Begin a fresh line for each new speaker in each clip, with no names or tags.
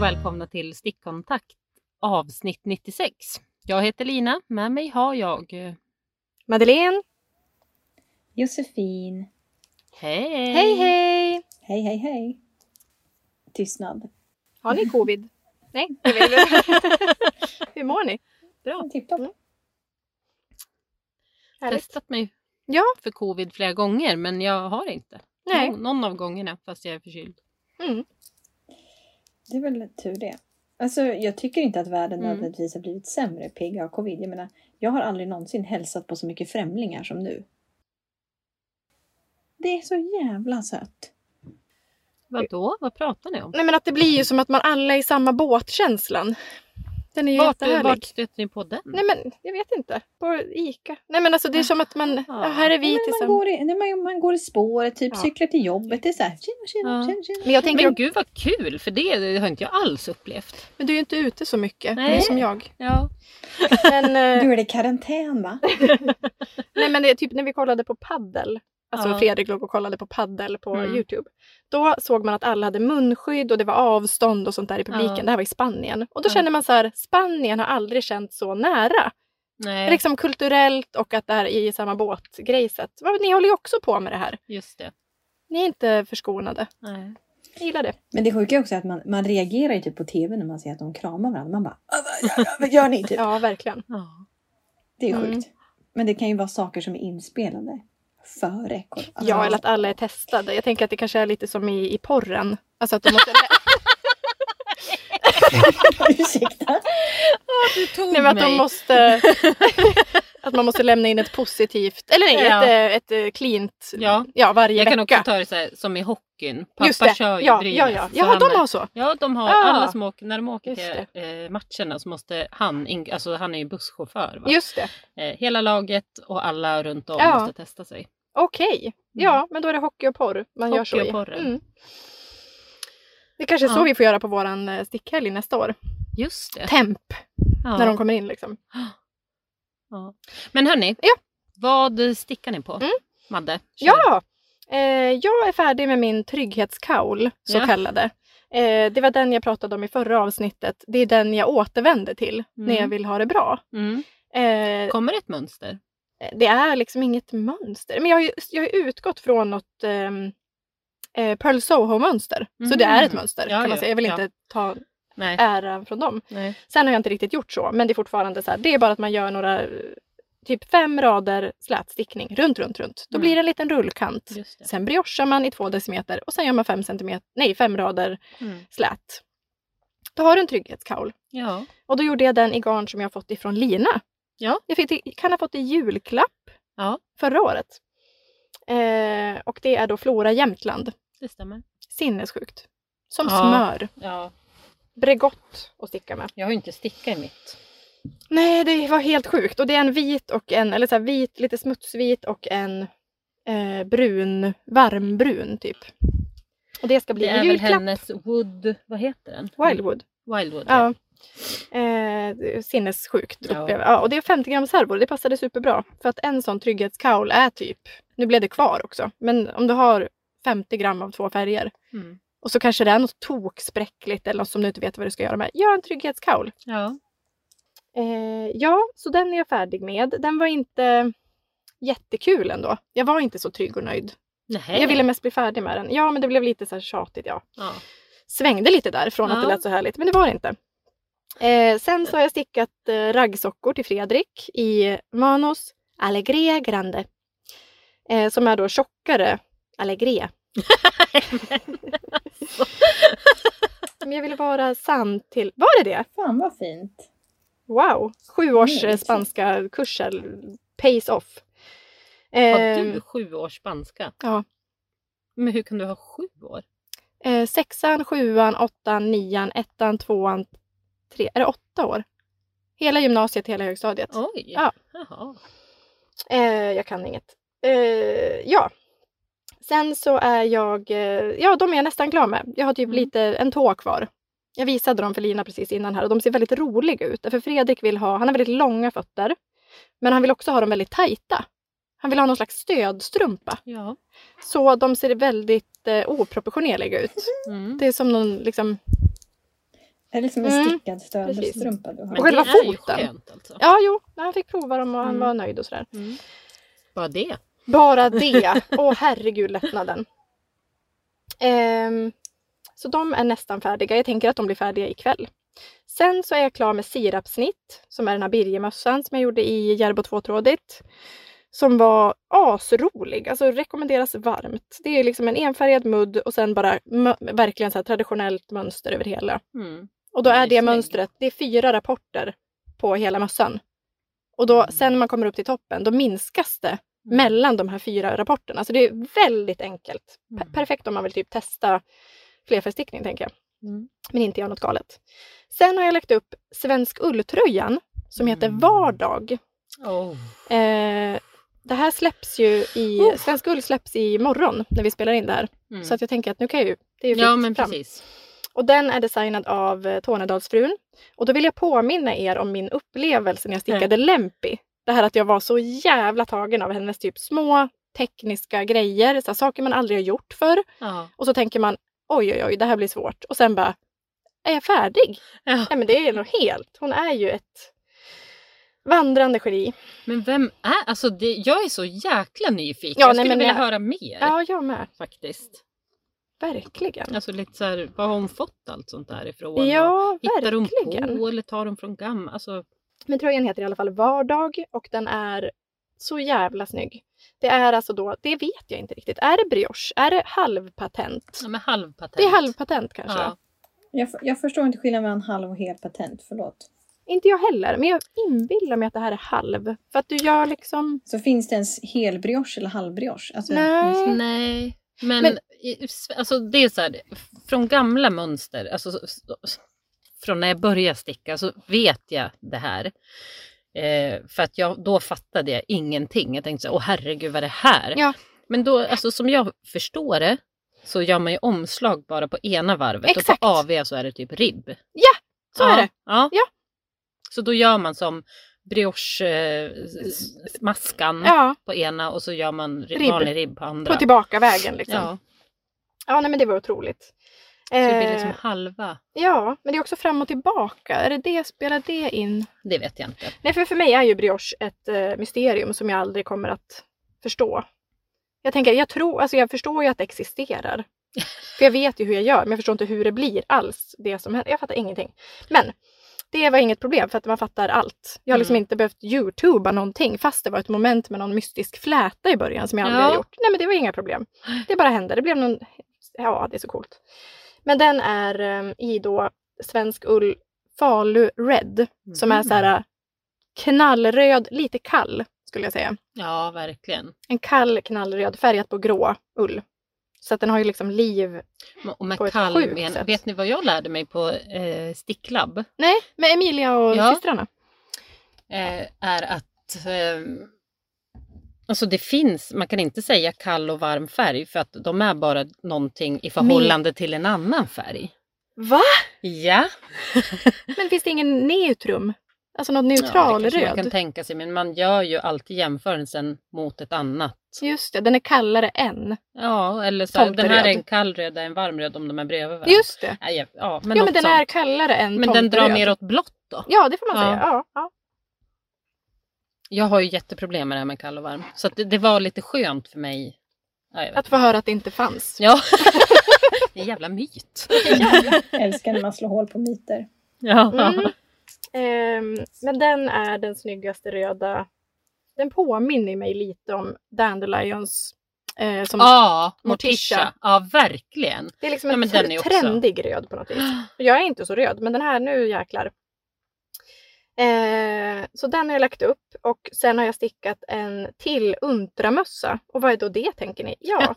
välkomna till Stickkontakt avsnitt 96. Jag heter Lina, med mig har jag... eh,
Madeleine!
Josefin.
Hej!
Hej hej!
Hej, hej, hej. Tystnad.
Har ni covid? Nej, det vill jag. Hur mår ni?
Ja. Tipptopp.
Mm.
Jag har
Härligt.
testat mig
Ja.
för covid flera gånger men jag har inte.
Nej.
Någon, någon av gångerna fast jag är förkyld.
Mm.
Det är väl tur det. Alltså, jag tycker inte att världen
Mm.
nödvändigtvis har blivit sämre pigg av covid. Jag menar, jag har aldrig någonsin hälsat på så mycket främlingar som nu. Det är så jävla sött.
Vadå? Vad pratar ni om?
Nej men att det blir ju som att man alla är i samma båtkänslan. Den är ju
Vart,
jättehärlig.
vart stöter ni på den?
Nej men jag vet inte. På Ica. Nej men alltså det är som att man, ja, här är vi
Nej, men man,
tillsammans.
går i, nej, man, man går i spåret, typ
Ja.
cyklar till jobbet. Det är så här, tjena, tjena,
Ja.
tjena, tjena.
Men jag tänker,
Men
men,
gud vad kul för det, det har inte jag alls upplevt.
men du är ju inte ute så mycket
Nej.
som jag.
Ja.
Men, eh,
Du är det karantän va?
nej men det är typ när vi kollade på paddel. Alltså
Ja.
Fredrik låg och kollade på paddel på
Mm.
Youtube. Då såg man att alla hade munskydd och det var avstånd och sånt där i publiken.
Ja.
Det här var i Spanien. Och då
Ja.
känner man så här, Spanien har aldrig känt så nära.
Nej,
Liksom kulturellt och att det här är i samma båt-grejset. Vad- Ni håller ju också på med det här.
just det.
Ni är inte förskonade.
Nej.
Jag gillar det.
Men det sjuka är också att man, man reagerar ju typ på tv när man ser att de kramar varandra. Man bara, "Ah, vad gör- vad gör ni? Typ.
Ja, verkligen.
Ja.
Det är
Mm.
sjukt. Men det kan ju vara saker som är inspelade före. Alltså,
Ja, eller att alla är testade. Jag tänker att det kanske är lite som i, i porren. Alltså att de måste...
Ursäkta.
Du tog
Nej, men att de måste... att man måste lämna in ett positivt... Eller nej,
Ja.
ett, eh, ett, eh, cleant...
Ja.
Ja, varje
Jag
vecka.
kan också ta det så här, som i hockeyn.
Just
Pappa
det.
kör ju
ja,
Brynäs.
ja,
så
ja. Jaha,
han-
de har så.
Ja, de har
Ah.
alla som åker, när de åker
Just
till eh, matcherna så måste han, in, alltså han är ju busschaufför. Va?
Just det.
Eh, hela laget och alla runt om
Ja.
måste testa sig.
Okej. Ja, men då är det hockey och porr man gör så
Mm. Hockey
i.
och porren.
Mm. Det kanske är så
Ja.
vi får göra på våran eh, stickhelg nästa år.
Just det.
Temp,
Ja.
när de kommer in liksom.
ja. Men hörni,
Ja. Mm.
vad stickar ni på? Madde? kör.
Ja! Eh, jag är färdig med min trygghetskaul, så
Ja.
kallade. Eh, det var den jag pratade om i förra avsnittet. Det är den jag återvänder till när
Mm.
jag vill ha det bra.
Mm.
Eh,
Kommer ett mönster?
det är liksom inget mönster. Men jag har ju, jag har ju utgått från något ehm, eh, Pearl Soho-mönster. Så det är ett
Mhm.
mönster
Ja,
kan
ja,
man säga. Jag vill
ja.
inte ta
Nej.
äran från dem.
Nej.
Sen har jag inte riktigt gjort så, men det är fortfarande så här. Det är bara att man gör några eh, typ fem rader slätstickning runt, runt, runt. Då
Mm.
blir det en liten rullkant.
Just det.
Sen briochar man i två decimeter och sen gör man fem, centimeter, nej, fem rader
Mm.
slät. Då har du en trygghetskaul.
Ja.
Och då gjorde jag den i garn som jag fått ifrån Lina.
Ja.
Jag fick, till- kan ha fått i julklapp
ja,
förra året. Eh, och det är då Flora Jämtland.
det stämmer.
Sinnessjukt. Som
Ja.
smör.
Ja.
Bregott att sticka med.
Jag har ju inte stickat i mitt.
Nej, det var helt sjukt. Och det är en vit och en, eller så här vit, lite smutsvit och en eh, brun, varmbrun typ. Och det ska bli
Det
en
är väl
julklapp.
hennes Wood, vad heter den?
Wildwood.
Wildwood.
Ja. Eh, det är sinnessjukt
Ja.
upplevde ja. Och det är 50 gram servor. Det passade superbra. För att en sån trygghetskaul är typ, nu blev det kvar också, men om du har 50 gram av två färger
Mm.
och så kanske det är något tokspräckligt eller något som du inte vet vad du ska göra med. Gör en trygghetskaul.
ja.
Eh, ja, så den är jag färdig med. Den var inte jättekul ändå. Jag var inte så trygg och nöjd.
Nej.
Jag ville mest bli färdig med den. Ja, men det blev lite så här tjatigt. Ja.
ja.
svängde lite där från att det
Ja.
lät så härligt, men det var det inte. Eh, sen så har jag stickat eh, raggsockor till Fredrik i Manos Allegria Grande. Eh, som är då tjockare Allegria. Men jag ville vara sann till... Var det det?
Fan vad fint.
Wow! Sju års
Mm,
eh, spanska kurser, pays off.
Har
Eh,
du sju års spanska?
ja.
Men hur kan du ha sju år?
eh, sexan, sjuan, åttan, nian, ettan, tvåan, tre... Är det åtta år? Hela gymnasiet, hela högstadiet.
Oj!
Ja.
Jaha.
Eh, jag kan inget. Eh, ja. Sen så är jag, eh, ja de är jag nästan klar med. Jag har typ
Mm.
lite, en tå kvar. Jag visade dem för Lina precis innan här och de ser väldigt roliga ut. För Fredrik vill ha, han har väldigt långa fötter. Men han vill också ha dem väldigt tajta. Han vill ha någon slags stödstrumpa.
Ja.
Så de ser väldigt eh, oproportionerliga ut.
Mm.
Det är som någon liksom
Det är liksom en
Mm,
stickad stövelstrumpa du
Men
Och
har.
det
själva
är ju
foten.
skönt alltså.
Ja, jo, han fick prova dem och han
Mm.
var nöjd och sådär.
Mm. Bara det.
Bara det! Åh herregud lättnaden. Ehm, så de är nästan färdiga. Jag tänker att de blir färdiga ikväll. Sen så är jag klar med sirapsnitt som är den här birgemössan som jag gjorde i Järbo tvåtrådigt. Som var asrolig, alltså rekommenderas varmt. Det är liksom en enfärgad mudd och sen bara mö- verkligen så här traditionellt mönster över hela.
Mm.
Och då
Den
är
är
det
snygg.
mönstret, det är fyra rapporter på hela mössan. Och då,
Mm.
sen när man kommer upp till toppen, då minskas det mellan de här fyra rapporterna. Så det är väldigt enkelt. Per-
Mm.
Perfekt om man vill typ testa flerfärgstickning tänker jag.
Mm.
Men inte göra något galet. Sen har jag lagt upp Svensk ulltröjan som heter
Mm.
Vardag.
Oh.
Eh, det här släpps ju i,
Oh.
Svensk ull släpps i morgon när vi spelar in det här.
Mm.
Så att jag tänker att nu kan jag ju, det är ju
ja
fritt
men
fram.
precis.
Och den är designad av eh, Tornedalsfrun. Och då vill jag påminna er om min upplevelse när jag
Mm.
stickade Lempi. Det här att jag var så jävla tagen av hennes typ små tekniska grejer, så här, saker man aldrig har gjort förr.
Ja.
Och så tänker man oj, oj, oj, det här blir svårt. Och sen bara, är jag färdig?
Ja.
Nej men det är nog helt. Hon är ju ett vandrande
Eh.
geni.
Men vem är, alltså det, jag är så jäkla nyfiken.
Ja,
jag
nej,
skulle
men
vilja
jag-
höra mer
Ja, jag med.
faktiskt.
Verkligen.
Alltså lite så här, var har hon fått allt sånt där ifrån? Och
Ja,
Hittar hon
verkligen.
på eller tar hon från gamla? Alltså,
Men tröjan heter i alla fall Vardag och den är så jävla snygg. Det är alltså då, det vet jag inte riktigt. Är det brioche? Är det halvpatent?
ja, med halvpatent.
Det är halvpatent kanske.
Ja.
Jag, f- jag förstår inte skillnaden mellan halv och hel patent, förlåt.
Inte jag heller, men jag inbillar mig att det här är halv. För att du gör liksom...
Så finns det ens helbrioche eller halvbrioche? Alltså,
Nej.
Nej. Men,
Men-
i- alltså det är så här, från gamla mönster, alltså så- så- från när jag började sticka så vet jag det här. Eh, för att jag, då fattade jag ingenting. Jag tänkte så här, åh herregud vad är det här?
Ja.
Men då, alltså som jag förstår det, så gör man ju omslag bara på ena varvet
Exakt.
och på AV så är det typ ribb.
Ja, så är det.
Ja.
Ja.
Så då gör man som eh, brioche-maskan
Ja,
på ena och så gör man ri-
Ribb.
vanlig ribb på andra.
på tillbaka vägen liksom. Ja,
Ja,
nej men det var otroligt.
så det blir
Eh,
liksom halva.
Ja, men det är också fram och tillbaka. Är det det, spelar det in?
Det vet jag inte.
Nej, för, för mig är ju brioche ett eh, mysterium som jag aldrig kommer att förstå. Jag tänker, jag tror, alltså jag förstår ju att det existerar. För jag vet ju hur jag gör, men jag förstår inte hur det blir alls. Det som händer. Jag fattar ingenting. Men det var inget problem för att man fattar allt. Jag har liksom
Mm.
inte behövt youtuba någonting fast det var ett moment med någon mystisk fläta i början som jag aldrig
Ja.
har gjort. Nej men det var inga problem. Det bara hände. Det blev någon... Ja, det är så coolt. Men den är eh, i då svensk ull Falu Red. Som är
Mm.
så här äh, knallröd, lite kall skulle jag säga.
Mm. Ja, verkligen.
En kall knallröd färgat på grå ull. Så att den har ju liksom liv.
Ma- Och med
På ett
kall
sjukt
men,
sätt.
Vet ni vad jag lärde mig på eh, sticklabb?
Nej, med Emilia och
Ja.
systrarna.
Eh, är att eh, alltså det finns, man kan inte säga kall och varm färg för att de är bara någonting i förhållande till en annan färg.
Va?
Ja,
Men finns det ingen neutrum? Alltså något
ja det
neutral
kanske man
röd?
kan tänka sig men man gör ju alltid jämförelsen mot ett annat.
Just det, den är kallare än.
Ja, eller så här, den här är
Tomteröd.
en kall röd, det är en varm röd om de är bredvid varandra.
Just det.
Nej, jag- Ja, men,
Men ja
något
men den
sånt.
är kallare än
men den drar
tomteröd.
mer åt blått då.
Ja, det får man
Ja.
säga. Ja, ja.
Jag har ju jätteproblem med det här med kall och varm. Så att det, det var lite skönt för mig. Ja, jag vet.
Att få höra att det inte fanns.
ja. det är en jävla myt.
Jag älskar när man slår hål på myter.
Ja.
Mm. Ehm, men den är den snyggaste röda. Den påminner mig lite om Dandelions. Eh, som
Ja,
Morticia.
Morticia. Ja, verkligen.
Det är liksom
Ja,
en
men den är också-
trendig röd på något vis. Och Jag är inte så röd, men den här, nu jäklar. Eh, så den har jag lagt upp och sen har jag stickat en till untramössa. Och vad är då det tänker ni? Ja,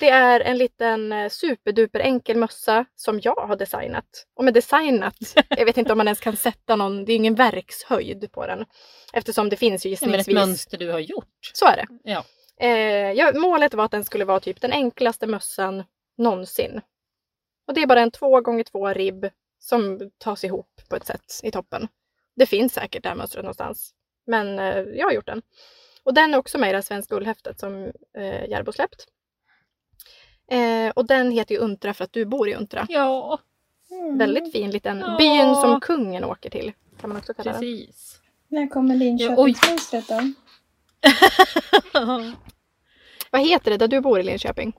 det är en liten eh, superduper enkel mössa som jag har designat. Och med designat, jag vet inte om man ens kan sätta någon, det är ingen verkshöjd på den. Eftersom det finns ju
Ja, men ett
gissningsvis.
mönster du har gjort.
Så är det.
Ja.
Eh, ja, målet var att den skulle vara typ den enklaste mössan någonsin. Och det är bara en 2 gånger 2 ribb som tas ihop på ett sätt i toppen. Det finns säkert det här mönstret någonstans. Men eh, jag har gjort den. Och den är också med i det här svenska ullhäftet som eh, Järbo släppt. Eh, och den heter ju Untra för att du bor i Untra.
Ja.
Mm.
Väldigt fin liten
Ja.
byn som kungen åker till. Kan man också kalla den.
Precis.
När kommer
Ja, oj.
Linköpingsmönstret då?
Vad heter det där du bor i Linköping?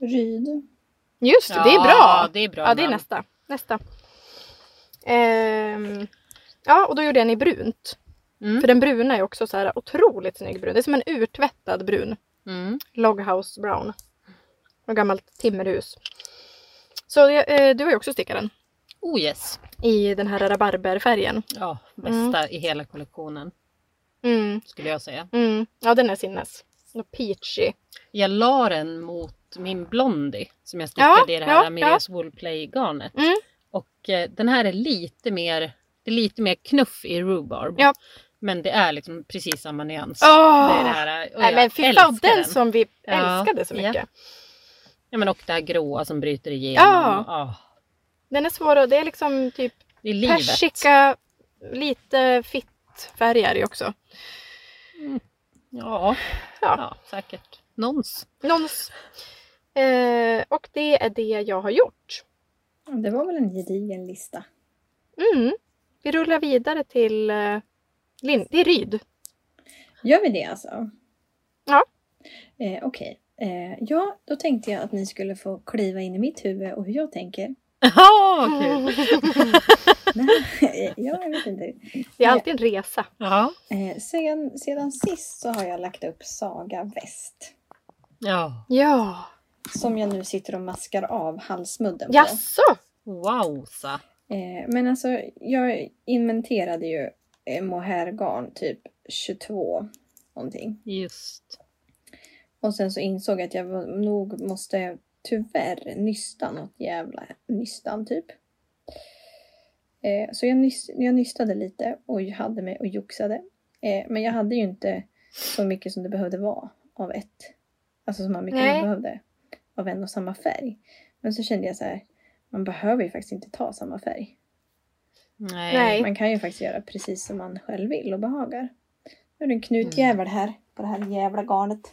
Ryd.
Just det, det är bra!
Ja, det är bra.
Ja, det är
namn.
nästa. nästa. Ehm, ja, och då gjorde jag den i brunt.
Mm.
För den bruna är också så här otroligt snygg brun. Det är som en urtvättad brun.
Mm.
Loghouse brown. Något gammalt timmerhus. Så det, eh, du har ju också stickat den.
Oh yes.
I den här rabarberfärgen.
Ja, bästa i hela kollektionen
Mm,
skulle jag säga.
mm. Ja, den är sinnes. Och peachy.
Jag la den mot min Blondie som jag stickade
Ja,
i det här
ja,
Amelias Woolplay-garnet.
Mm.
Och eh, den här är lite mer, det är lite mer knuff i rhubarb.
Ja.
Men det är liksom precis samma nyans.
Åh!
Det är det här, och
Nej,
jag
men fy
älskar
fan, den som vi
Ja,
älskade så
ja.
mycket.
ja, men och det här gråa som bryter igenom.
Ja.
Ja,
Den är svår och det är liksom typ
det är livet.
persika, lite fitt färger också.
Ja.
Ja.
Ja. säkert. Någons.
Någons. Eh, och det är det jag har gjort.
Det var väl en gedigen lista.
Mm. Vi rullar vidare till eh, Lin- det är Ryd.
Gör vi det alltså?
Ja.
Eh, Okej. Eh, ja, då tänkte jag att ni skulle få kliva in i mitt huvud och hur jag tänker.
Ja, kul!
Nej, ja, jag vet inte.
Det är alltid en resa.
Ja.
Eh, sen, sedan sist så har jag lagt upp Saga Väst.
ja.
Ja.
Som jag nu sitter och maskar av halsmudden på.
Jaså?
Wow, sa.
Eh, men alltså, jag inventerade ju eh, mohairgarn typ 22 någonting.
Just.
Och sen så insåg jag att jag var- nog måste tyvärr nysta något jävla nystan typ. Eh, så jag, nys- jag nystade lite och jag hade mig och joxade. Eh, men jag hade ju inte så mycket som det behövde vara av ett. Alltså som man mycket
Nej.
man behövde av en och samma färg. Men så kände jag så här, man behöver ju faktiskt inte ta samma färg.
Nej.
Nej.
Man kan ju faktiskt göra precis som man själv vill och behagar. Nu är det en knutjävel
Mm.
här på det här jävla garnet.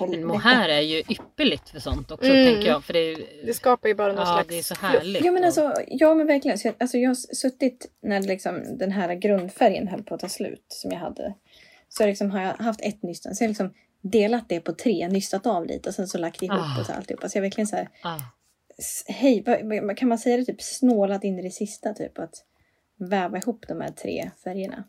Men
Helvete.
mohair Mm, är ju ypperligt för sånt också
Mm.
tänker jag. För det är,
Det skapar ju bara någon
ja,
slags...
det är så härligt.
Jo men
och-
alltså, ja men verkligen. Så jag, alltså, jag har suttit när liksom, den här grundfärgen höll på att ta slut som jag hade. Så liksom, har jag haft ett nystan, så har jag liksom delat det på tre, nystat av lite och sen så lagt ihop
Ah.
och så alltihopa. Så jag verkligen så här,
ah.
s- hej, vad- vad- kan man säga det typ snålat in i det sista typ? Att väva ihop de här tre färgerna.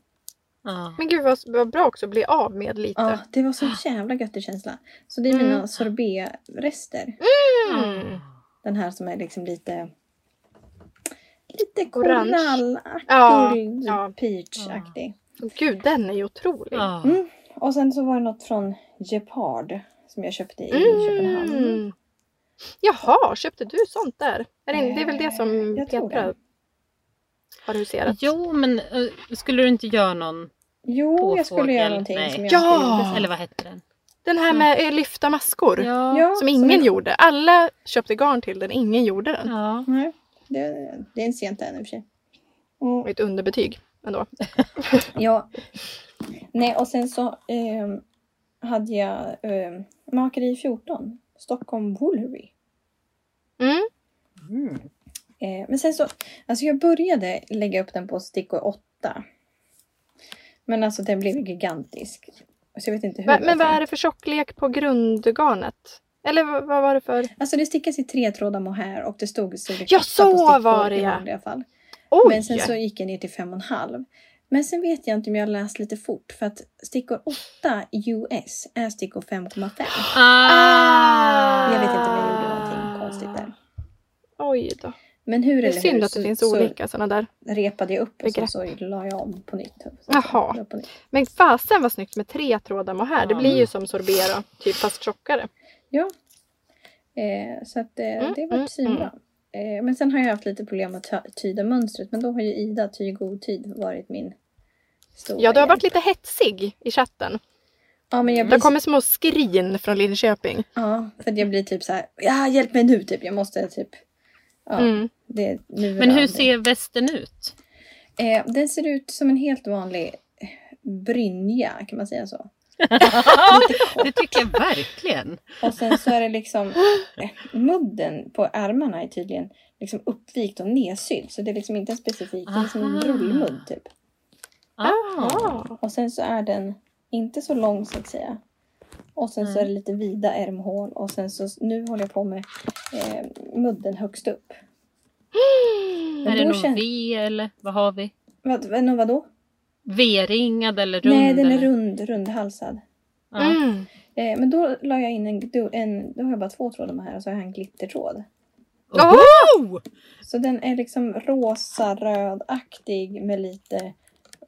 ah.
Men gud vad, vad bra också att bli av med lite.
Ja, det var så jävla gött i känsla. Så det är mina
Mm.
sorbetrester.
Mm.
Den här som är liksom lite Lite
Orange.
korallaktig,
Ja,
guld,
ja.
peachaktig.
Och Gud, den är ju otrolig.
Ah.
Mm. Och sen så var det något från Gepard som jag köpte i Köpenhamn.
Mm. Jaha, köpte du sånt där? Är det, det är väl det som
Jag tror
Petra
det.
har huserat?
Jo men eh, skulle du inte göra någon?
Jo, jag skulle
Påfågel,
göra någonting
nej.
som jag
Ja!
inte gjorde.
Eller vad hette den?
Den här med eh, lyfta maskor.
Ja.
Ja,
Som ingen gjorde. Alla köpte garn till den, ingen gjorde den.
Ja.
Nej, det, det är en sent än i och för sig.
Det
Mm,
är Ett underbetyg ändå.
ja. Nej, och sen så ehm, hade jag ehm, Makeri 14, Stockholm Woolery.
Mm.
Mm.
Eh, men sen så, alltså jag började lägga upp den på stickor 8. Men alltså den blev gigantisk. Så jag vet inte hur.
Va, men
alltså.
vad är det för tjocklek på grundgarnet? Eller vad, vad var det för?
Alltså det stickas i tre trådar mohair och det stod så
Ja, så var det,
i
ja.
vanliga fall.
Oj!
Men sen så gick jag ner till fem och en halv. Men sen vet jag inte om jag har läst lite fort för att stickor 8 US är stickor 5,5.
Ah.
Jag vet inte om jag gjorde någonting konstigt där.
Oj då.
Men hur
Ah. Det är
eller
synd
hur
att det
så,
finns
så
olika sådana där.
repade jag upp och så,
begrepp. Ah.
så la jag om på nytt. Så,
Jaha.
la på nytt.
Men fasen vad snyggt med tre trådar och här. Det
Ja.
blir ju som sorbet då, typ fast tjockare.
Ja. Eh, så att eh,
Mm,
det
mm,
var svinbra. Eh, men sen har jag haft lite problem med att ty- tyda mönstret men då har ju Ida Tyg och otyd varit min stora
Ja, du har
hjälp.
varit lite hetsig i chatten.
Ja, men jag
Det
blir,
kommer små skrin från Linköping.
ja, för att jag blir typ så här, ja, hjälp mig nu typ, jag måste typ. Ja,
Mm.
det, nu är
Men
det
hur
av mig.
ser västen ut?
Eh, den ser ut som en helt vanlig eh, brynja, kan man säga så?
det tycker jag verkligen.
Och sen så är det liksom eh, mudden på ärmarna är tydligen liksom uppvikt och nedsydd. Så det är liksom inte en specifik, det är liksom en
Aha.
rullmudd typ.
Ah.
Ah.
Och sen så är den inte så lång så att säga. Och sen så
Mm.
är det lite vida ärmhål och sen så nu håller jag på med eh, mudden högst upp.
Är det
då
någon
kän-
V eller vad har vi?
Vad, vad, vadå?
V-ringad eller rund?
Nej, den är
eller?
rund, rundhalsad.
Ja.
Mm.
Eh, men då la jag in en, gdu- en, då har jag bara två trådar med här och så har jag en glittertråd. Oh!
Oho!
Så den är liksom rosa rödaktig med lite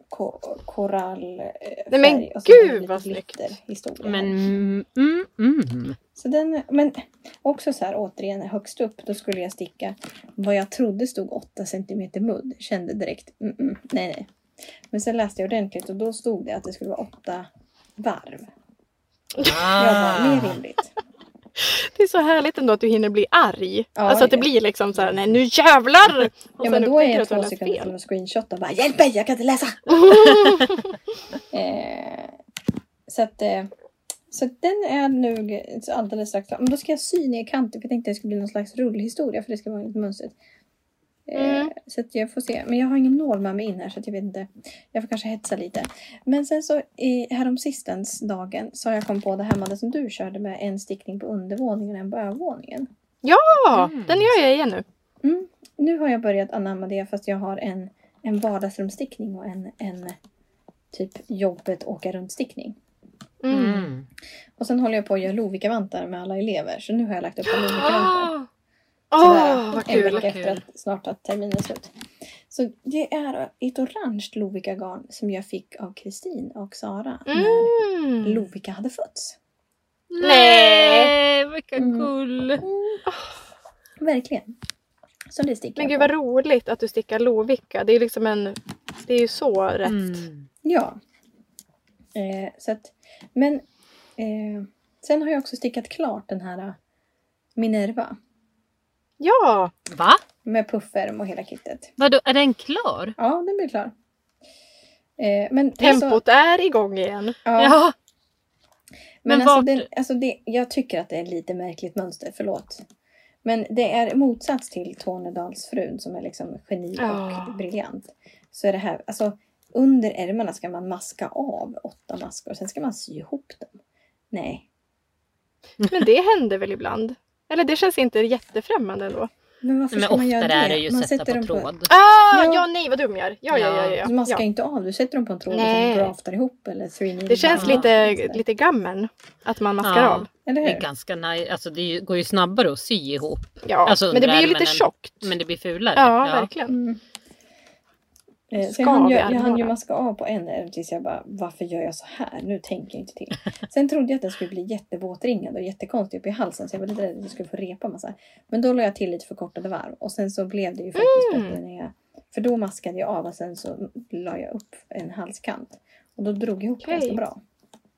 ko- korallfärg.
Nej, men
och så är det
gud,
lite
vad snyggt.
glitterhistoria
Men,
här.
mm, mm, mm.
Så den, men också så här återigen högst upp, då skulle jag sticka vad jag trodde stod 8 cm mudd. Kände direkt, mm, mm, nej nej. Men sen läste jag ordentligt och då stod det att det skulle vara 8 varv. Jag bara, mer
Ah.
rimligt.
Det är så härligt ändå att du hinner bli arg.
Ja,
alltså att det
ja.
blir liksom så här, nej nu jävlar! Och
Ja
sen
men då
upptäcker
är
du
jag
att du
två
har läst
sekunder
fel.
från att screenshotta och bara hjälp mig, jag kan inte läsa! Eh, så att, eh, så att den är nu alldeles strax fram. Men då ska jag sy ner kanten för jag tänkte att det skulle bli någon slags rullhistoria för det ska vara lite mönstret. Eh,
Mm.
Så att jag får se. Men jag har ingen nål med mig in här så att jag vet inte. Jag får kanske hetsa lite. Men sen så i, häromsistens dagen så har jag kommit på det här med det som du körde med en stickning på undervåningen och en på övervåningen.
Ja,
Mm.
den gör jag igen nu.
Mm. Nu har jag börjat anamma det fast jag har en, en vardagsrumstickning och en, en typ jobbet åka runt stickning.
Mm.
Mm.
Och sen håller jag på att göra Lovika-vantar med alla elever. Så nu har jag lagt upp en Lovika-vantar.
Ah.
Åh,
Sådär,
vad
en
kul!
vecka
kul.
efter att snart att terminen är slut. Så det är ett orange Lovika-garn som jag fick av Kristin och Sara när
Mm.
Lovika hade fötts.
Nej, vilka
Mm.
gull!
Verkligen. Så det sticker
Men
jag
gud
på.
vad roligt att du stickar Lovika. Det är liksom en... Det är ju så rätt.
Mm.
Ja. Eh, så att, men eh, sen har jag också stickat klart den här eh, Minerva
Ja!
Va?
med puffärm och hela kittet.
Vadå, är den klar?
Ja, den blir klar. Eh, men det är så-
Tempot är igång igen.
ja,
Ja.
men
men
alltså,
vart-
den, alltså det, jag tycker att det är ett lite märkligt mönster, förlåt. Men det är motsats till Tornedalsfrun som är liksom geni
Ja.
och briljant. Så är det här, alltså under ärmarna ska man maska av åtta maskor och sen ska man sy ihop dem. Nej,
Men det händer väl ibland? Eller det känns inte jättefrämmande ändå.
Men varför
Men
ska man göra
oftare
det?
är det ju
man
sätta på
dem
tråd.
Ah,
Ja.
ja. nej vad dum jag är. Ja, ja, ja. ja,
Så man ska
ja.
inte av, du sätter dem på en tråd och
Nej.
sen graftar ihop eller three needle
Det känns
Ja.
band.
lite, lite gammen att man maskar
Ja.
av.
Eller
Det är
hur?
ganska nice. Alltså det är ju- går ju snabbare att sy ihop.
Ja,
Alltså,
men det blir ju lite
underärmen-
tjockt.
Men det blir fulare.
Ja, verkligen.
Mm. Eh, Så
Ska
jag hann,
vi
ju, jag hann ju
armhåla?
maska av på en ärm tills jag bara, varför gör jag så här? Nu tänker jag inte till. Sen trodde jag att den skulle bli jättevåtringad och jättekonstig uppe i halsen så jag var lite rädd att jag skulle få repa massa. Men då la jag till lite förkortade varv och sen så blev det ju faktiskt
Mm.
bättre när jag... För då maskade jag av och sen så la jag upp en halskant. Och då drog jag ihop
Okej.
ganska bra.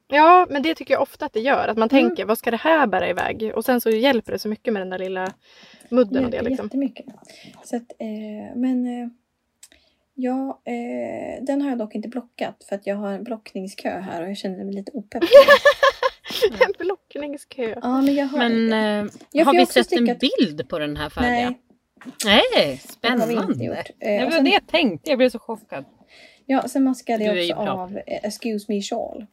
Ja, men det tycker jag ofta att det gör. Att man
Mm.
tänker, vad ska det här bära iväg? Och sen så hjälper det så mycket med den där lilla mudden och det
Hjälper
liksom.
Jättemycket. Så att, eh, men eh, ja, eh, den har jag dock inte blockat för att jag har en blockningskö här och jag känner mig lite opepp.
En blockningskö.
ja, men jag har
Men
det.
eh,
Jag
har
får
vi
också
sett en
stickat-
bild på den här färdiga?
Nej,
Nej,
det har vi
spännande.
inte gjort. Eh,
Jag,
och sen,
det jag tänkte, jag blev så chockad.
ja, sen maskade
Du är ju
jag också
bra.
av eh, Excuse Me Shawl.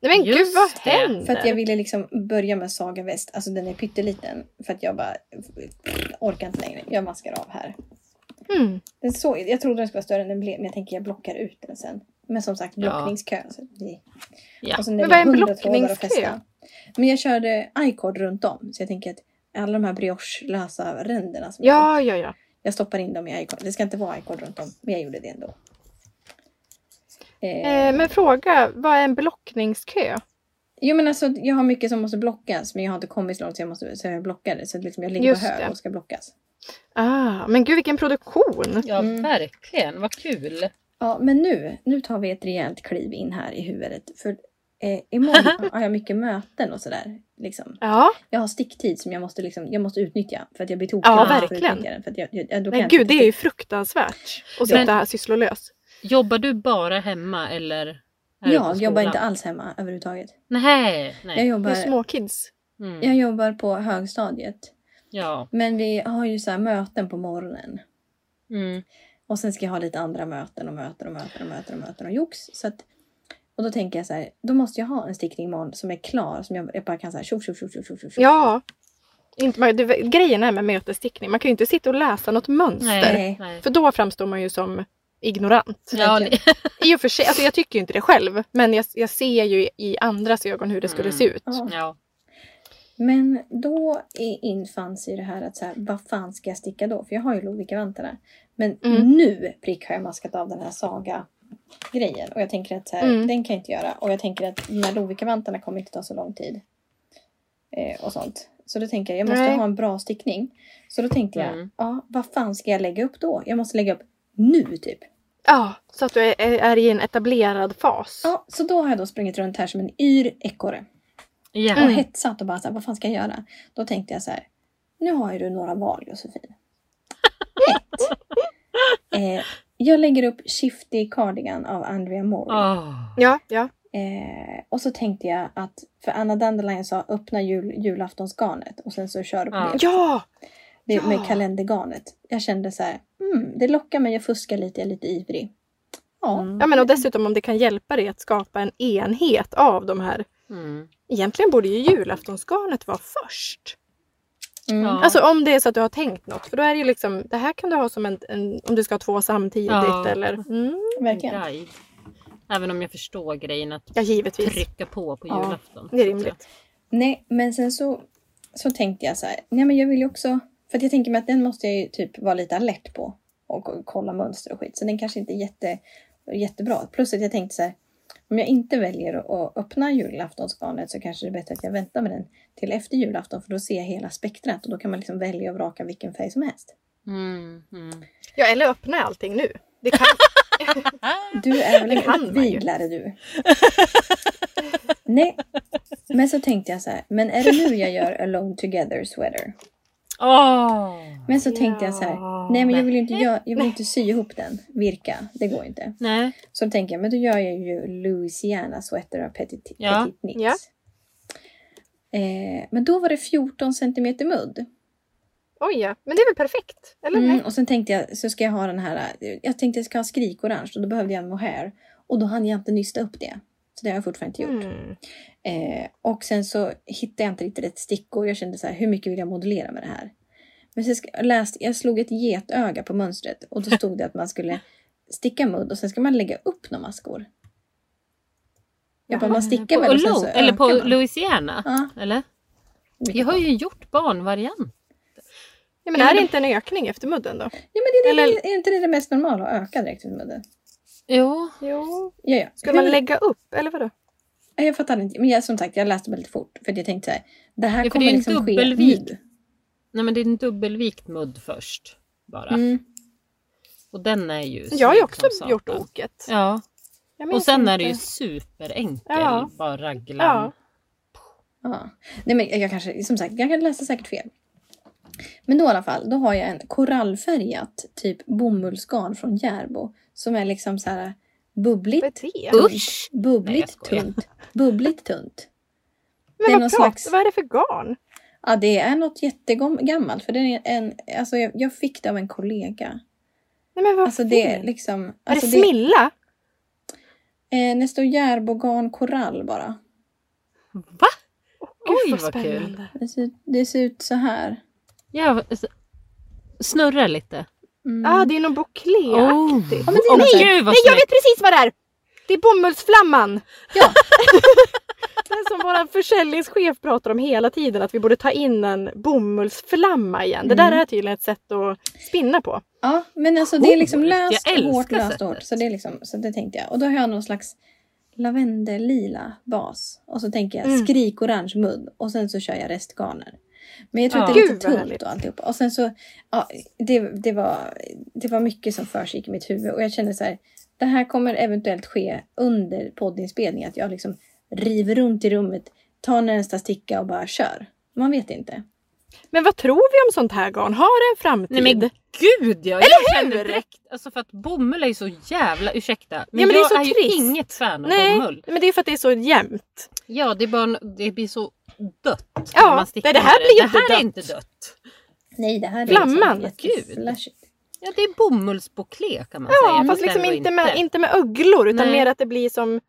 Nej men
Just
gud vad
det.
händer?
För att jag ville liksom börja med Saga Väst. Alltså den är pytteliten. För att jag bara orkar inte längre. Jag maskar av här.
mm.
Den så, jag trodde den skulle vara större än den blev men jag tänker jag blockar ut den sen. Men som sagt
Ja.
blockningskö. Så det,
Ja.
Och sen
Men
det
vad är en
hundra trådar att
blockningskö?
fästa. Men jag körde icord runt om. Så jag tänker att alla de här brioche-lösa ränderna. Som jag,
Ja, ja, ja.
jag stoppar in dem i icord. Det ska inte vara icord runt om. Men jag gjorde det ändå. Eh,
Eh, men fråga, vad är en blockningskö?
Jo men alltså jag har mycket som måste blockas. Men jag har inte kommit så långt så jag, måste, så jag blockar det. Så att liksom, jag ligger
Just
på hög
det.
och ska blockas.
Ah, men gud vilken produktion!
Ja,
Mm.
verkligen. Vad kul.
Ja men nu, nu tar vi ett rejält kliv in här i huvudet. För eh, imorgon har jag mycket möten och sådär. Liksom.
Ja,
Jag har sticktid som jag måste, liksom, jag måste utnyttja. För att jag blir tokig
Ja,
om jag inte får
verkligen.
utnyttja den. För att jag, jag, jag, då kan
nej
jag
gud
inte
det är ju fruktansvärt att
Men-
sitta här sysslolös.
Jobbar du bara hemma eller Här ute i
Jag jobbar
skolan.
inte alls hemma överhuvudtaget.
Nej,
Jag
nej.
Det är
jobbar,
småkids.
jag
Mm.
jobbar på högstadiet.
Ja.
Men vi har ju så här möten på morgonen.
Mm.
Och sen ska jag ha lite andra möten och möten och möten och möten och möten och jox. Så att, och då tänker jag så här, då måste jag ha en stickning imorgon som är klar. Som jag, jag bara kan så här tjoff tjoff tjoff tjoff tjoff, tjoff.
Ja. Inte, man, det, grejen är med mötesstickning, man kan ju inte sitta och läsa något mönster.
Nej,
Nej.
nej.
För då framstår man ju som ignorant.
Ja,
verkligen.
det-
I och för sig, alltså jag tycker ju inte det själv, men jag, jag ser ju i andras ögon hur det skulle se ut.
Ja.
ja.
Men då i- infanns ju det här att så här, vad fan ska jag sticka då? För jag har ju Lovikkavantarna. Men
Mm.
nu prick har jag maskat av den här saga-grejen. Och jag tänker att så här,
Mm.
den kan jag inte göra. Och jag tänker att de här Lovikkavantarna kommer inte ta så lång tid. Eh, och sånt. Så då tänker jag, jag måste
Nej.
ha en bra stickning. Så då tänkte jag,
Mm.
ja, vad fan ska jag lägga upp då? Jag måste lägga upp nu typ.
Ja, så att du är, är i en etablerad fas.
Ja, så då har jag då sprungit runt här som en yr ekorre.
ja.
Och
Mm.
hetsat och bara så här, vad fan ska jag göra? Då tänkte jag så här, nu har ju du några val Josefin. Ett. Eh, jag lägger upp Shifty Cardigan av Andrea Morley.
Åh.
Ja, ja.
Eh, och så tänkte jag att, för Anna Dandelion sa öppna jul, julaftonsgarnet och sen så kör du på
Ja.
det.
Ja!
det med
ja.
kalendergarnet. Jag kände så här, mm, det lockar mig, jag fuskar lite, jag är lite ivrig. Ja,
Mm.
ja men och dessutom om det kan hjälpa dig att skapa en enhet av de här.
Mm.
Egentligen borde ju julaftonsgarnet vara först.
mm.
Ja.
Alltså om det är så att du har tänkt något. För då är det ju liksom, det här kan du ha som en, en om du ska ha två samtidigt
Ja.
eller... Mm,
verkligen.
Guide. Även om jag förstår grejen att
ja, givetvis.
trycka på på
Ja,
julafton.
det är rimligt.
Nej, men sen så, så tänkte jag så här. Nej, men jag vill ju också... För att jag tänker mig att den måste jag ju typ vara lite alert på. Och k- kolla mönster och skit. Så den kanske inte är jätte, jättebra. Plus att jag tänkte så här. Om jag inte väljer att- att öppna julaftonsgarnet så kanske det är bättre att jag väntar med den till efter julafton. För då ser jag hela spektrat och då kan man liksom välja och vraka vilken färg som helst.
Mm. Mm.
Ja, eller öppna allting nu. Det kan,
Du är väl
Det kan man
en
ju.
uppviglare du. Nej, men så tänkte jag så här. Men är det nu jag gör Alone Together Sweater?
Åh.
Men så tänkte jag så här.
Ja.
Nej men jag vill ju inte, jag, jag vill inte sy ihop den, virka. Det går ju inte.
Nej.
Så då tänker jag, men då gör jag ju Louisiana Sweater av Petit,
Ja.
petit Knits.
Ja.
Eh, men då var det 14 centimeter mudd.
oj ja, men det är väl perfekt? Eller?
Mm,
nej?
och sen tänkte jag, så ska jag ha den här, eh, jag tänkte jag ska ha skrikorange och då behövde jag en mohair. Och då hann jag inte nysta upp det. Så det har jag fortfarande inte gjort.
Mm.
Eh, och sen så hittade jag inte riktigt rätt stickor. Jag kände så här, hur mycket vill jag modellera med det här? Men sen ska, jag, läste, jag slog ett getöga på mönstret och då stod det att man skulle sticka mudd och sen ska man lägga upp några maskor. Jag bara, man stickar
På
väl och sen så
Olo, eller på
ökar man.
Louisiana.
Ja,
Eller?
mycket
Jag har
bra.
ju gjort barnvariant.
Ja, men är det inte en ökning efter mudden då?
Ja, men det är, det,
eller-
är inte det det mest normala att öka direkt med mudden?
Jo.
Jo.
Ja, ja.
Ska
Hur-
man lägga upp eller vadå?
Nej, Jag fattar inte. Men jag, som sagt, jag läste väldigt fort för att jag tänkte så här, det här
Ja, för det är
kommer
en
liksom ske
dubbelvik.
nu.
Nej men det är en dubbelvikt mudd först. Bara.
Mm.
Och den är ju
Jag har ju
snygg
också
som
gjort
satan.
oket.
Ja.
Jag
Och
minns
sen är det
inte.
ju superenkel.
Ja.
Bara raglan.
Ja.
Ja. Nej men jag kanske, som sagt, jag kan läsa säkert fel. Men då i alla fall, då har jag en korallfärgat typ bomullsgarn från Järbo. Som är liksom så här
Vad är
bubbligt,
det?
Upp.
Usch! Nej, jag
bubbligt
skojar.
tunt. Bubbligt tunt.
Men
Det är
vad,
någon
pratar-
slags-
vad är det för garn?
Ja, det är något jättegammalt. För det är en, alltså jag, jag fick det av en kollega.
Nej, men vad
Alltså det är
fint.
liksom...
Är det
Alltså
Smilla?
det, eh, det står Järbogarn korall bara.
Va?
Gud,
Oj,
vad
vad kul.
spännande.
Det ser, det ser ut så här.
Jag snurrar lite.
Mm.
Ah, det är någon bouclé-aktigt.
Ja,
men det är
Åh,
något så här-
gud vad
Nej, jag
snyggt!
vet precis vad det är! Det är bomullsflamman!
Ja.
Den som vår försäljningschef pratar om hela tiden, att vi borde ta in en bomullsflamma igen. Det där
Mm.
är tydligen ett sätt att spinna på.
Ja, men alltså det är liksom
Coolt.
löst,
Jag älskar
hårt, löst
sättet.
och hårt. Så det, är liksom, så det tänkte jag. Och då har jag någon slags lavendellila bas. Och så tänker jag
Mm.
skrikorange mudd. Och sen så kör jag restgarner. Men jag tror att
Ja.
det är lite
Gud, vad härligt.
tunt och alltihop. Och sen så, ja, det, det, var, det var mycket som försiggick i mitt huvud. Och jag kände så här, det här kommer eventuellt ske under poddinspelningen. Att jag liksom river runt i rummet, tar nästa sticka och bara kör. Man vet inte.
Men vad tror vi om sånt här garn? Har det en framtid?
Nej men gud ja!
Eller
jag
hur?
kände direkt, alltså för att bomull är ju så jävla, ursäkta, men,
men det är
jag
så
är,
trist.
ju inget fan av
Nej,
bomull.
men det är för att det är så jämnt.
Ja det är bara, en- det blir så dött
Ja,
när man stickar
nej, det här
med
blir
det.
inte
Det här
dött.
är inte dött.
Nej, det här är
Flamman,
liksom jätte-
gud.
flashigt.
Ja det är bomullsbouclé kan man säga.
Ja, fast
fast
liksom
ändå
inte med, inte med ögglor utan
Nej.
mer att det blir som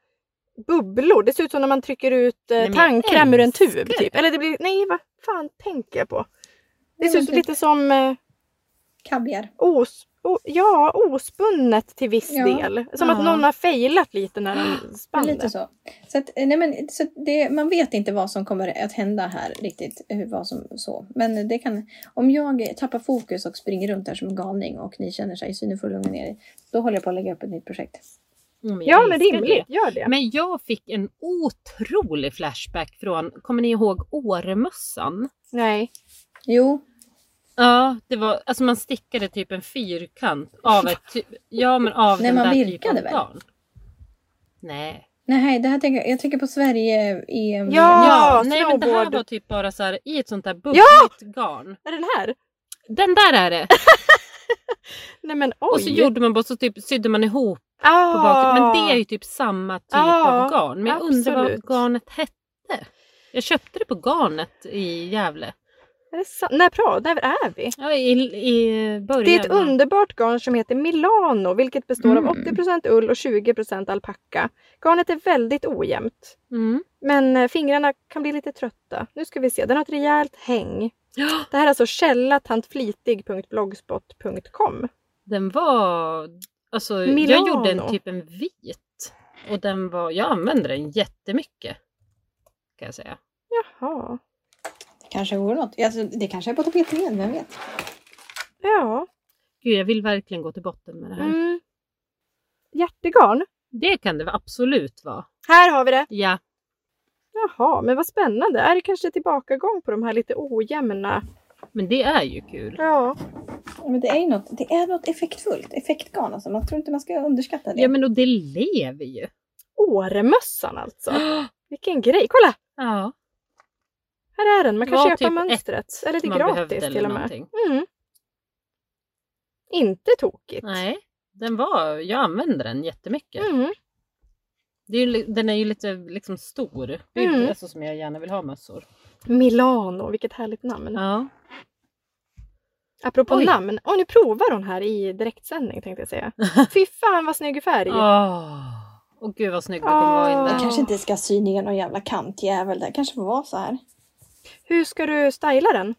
bubblor. Det ser ut som när man trycker ut eh,
men jag
tandkräm ur en tub.
älskar
Typ.
det.
Eller det blir, nej vad fan tänker jag på? Det
Nej,
ser
men
ut
typ-
lite som eh,
Kaviar.
os, o, ja, ospunnet till viss
Ja.
del. Som att
Ja. Ah,
någon har failat lite när de
Men
spann
Lite
det.
så. Så, att, eh, nej men, så att det, man vet inte vad som kommer att hända här riktigt. eh, hur- Vad som, så. Men det kan, om jag tappar fokus och springer runt här som en galning och ni känner sig synefull och ner då håller jag på att lägga upp ett nytt projekt.
Mm, jag
Ja men
älskar
rimligt, gör det.
det. Men jag fick en otrolig flashback från, kommer ni ihåg Åremössan?
Nej.
Jo,
Ja, det var, alltså man stickade typ en fyrkant av ett, ty- ja men av
Nej,
den
man
där
virkade
typen av
väl?
garn. Nej.
nej, det här tänker jag, jag tänker på Sverige i... eh,
Ja. Ah,
nej men det här
snowboard.
var typ bara så här i ett sånt där bubbligt garn.
Är den här?
Den där är det!
Nej men oj.
Och så gjorde man bara så typ sydde man ihop
ah,
på baksidan. Men det är ju typ samma typ
Ah,
av garn. Men jag undrar
absolut.
vad garnet hette. Jag köpte det på garnet i Gävle.
är det sant? När pra- Där är vi?
Ja, i, i början.
Det är ett
av-
underbart garn som heter Milano vilket består av
Mm.
80 ull och 20 alpacka. Garnet är väldigt ojämnt.
Mm.
Men eh, fingrarna kan bli lite trötta. Nu ska vi se, den har ett rejält häng.
Ja,
Det här är alltså källa tantflitig.blogspot.com.
Den var... Alltså, jag
Milano.
gjorde en typ en vit. Och den var... Jag använde den jättemycket. Kan jag säga.
Jaha.
Det kanske vore något. Alltså, det kanske är på tapeten igen, vem vet?
Ja.
Gud, jag vill verkligen gå till botten med det här.
Mm. Hjärtegarn.
Det kan det absolut vara.
Här har vi det!
Ja.
Jaha, men vad spännande. Är det kanske tillbakagång på de här lite ojämna?
Men det är ju kul.
Ja.
Men det är ju något, det är något effektfullt. Effektgarn alltså. Man tror inte man ska underskatta det.
Ja men och det lever ju.
Åremössan alltså. Vilken grej! Kolla!
Ja.
Här är den, man kan
Det var
köpa
typ
mönstret.
ett
Eller det är
man behövde
gratis
eller
till och med.
någonting.
Mm. Inte tokigt.
Nej. Den var, jag använde den jättemycket.
Mm.
Det är ju, li- den är ju lite liksom stor. Det är ju
Mm.
alltså, som jag gärna vill ha mössor.
Milano, vilket härligt namn.
Ja.
Apropå
Oj.
namn, och nu provar hon här i direktsändning tänkte jag säga. Fy fan vad snygg färg!
Åh Och gud vad snygg du kommer vara in
Ah.
Jag
där.
kanske inte ska sy ner någon jävla kantjävel där. kanske får vara så här.
Hur ska du styla den?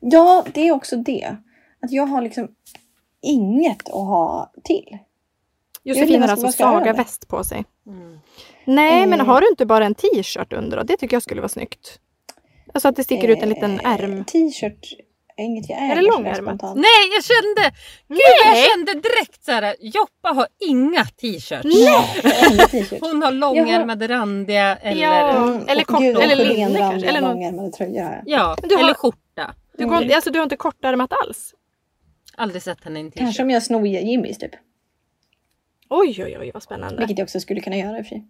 Ja, det är också det. Att jag har liksom inget att ha till.
Josefin har
vad-
alltså
vad ska jag
Saga
göra?
väst på sig.
Mm.
Nej, men
Eh.
har du inte bara en t-shirt under då? Det tycker jag skulle vara snyggt. Alltså att det sticker ut en liten
Eh,
ärm.
T-shirt är inget jag äger.
det
sådär
långärmat?
spontant.
Nej jag kände! Gud jag kände direkt så här. Joppa har inga t-shirts.
Nej, jag har ingen t-shirt. Mm,
Hon har långärmade randiga eller
Ja.
ja,
Eller
och
kort-
gula,
eller linne
skenrandiga,
kanske, eller någon-
långärmade tröjor har jag. Mm.
Men du har-
eller skjorta.
Du, går,
Mm.
inte- alltså, du har inte kortärmat alls?
Aldrig sett henne i en t-shirt.
Kanske om jag snor Jimmys typ.
Oj, oj, oj vad spännande.
Vilket jag också skulle kunna göra i och för sig.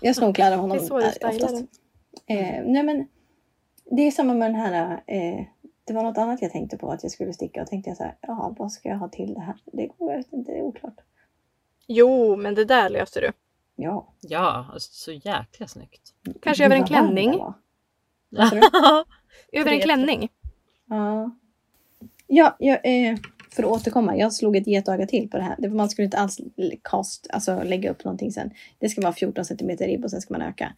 Jag snor kläder av honom
Det är så du
eh,
stylar
oftast.
den.
Eh, nej men, det är samma med den här. Eh, det var något annat jag tänkte på att jag skulle sticka och tänkte jag så här. Ja, vad ska jag ha till det här? Det går jag vet inte, det är oklart.
Jo, men det där löser du.
Ja.
Ja, alltså, så jäkla snyggt.
Kanske över en
Vad varm
klänning?
den var. Vad sa du?
Över en
Tre.
klänning?
Ja. Ja, jag, eh, för att återkomma. Jag slog ett getöga till på det här. Det, man skulle inte alls l- cast, alltså lägga upp någonting sen. Det ska vara 14 cm ribb och sen ska man öka.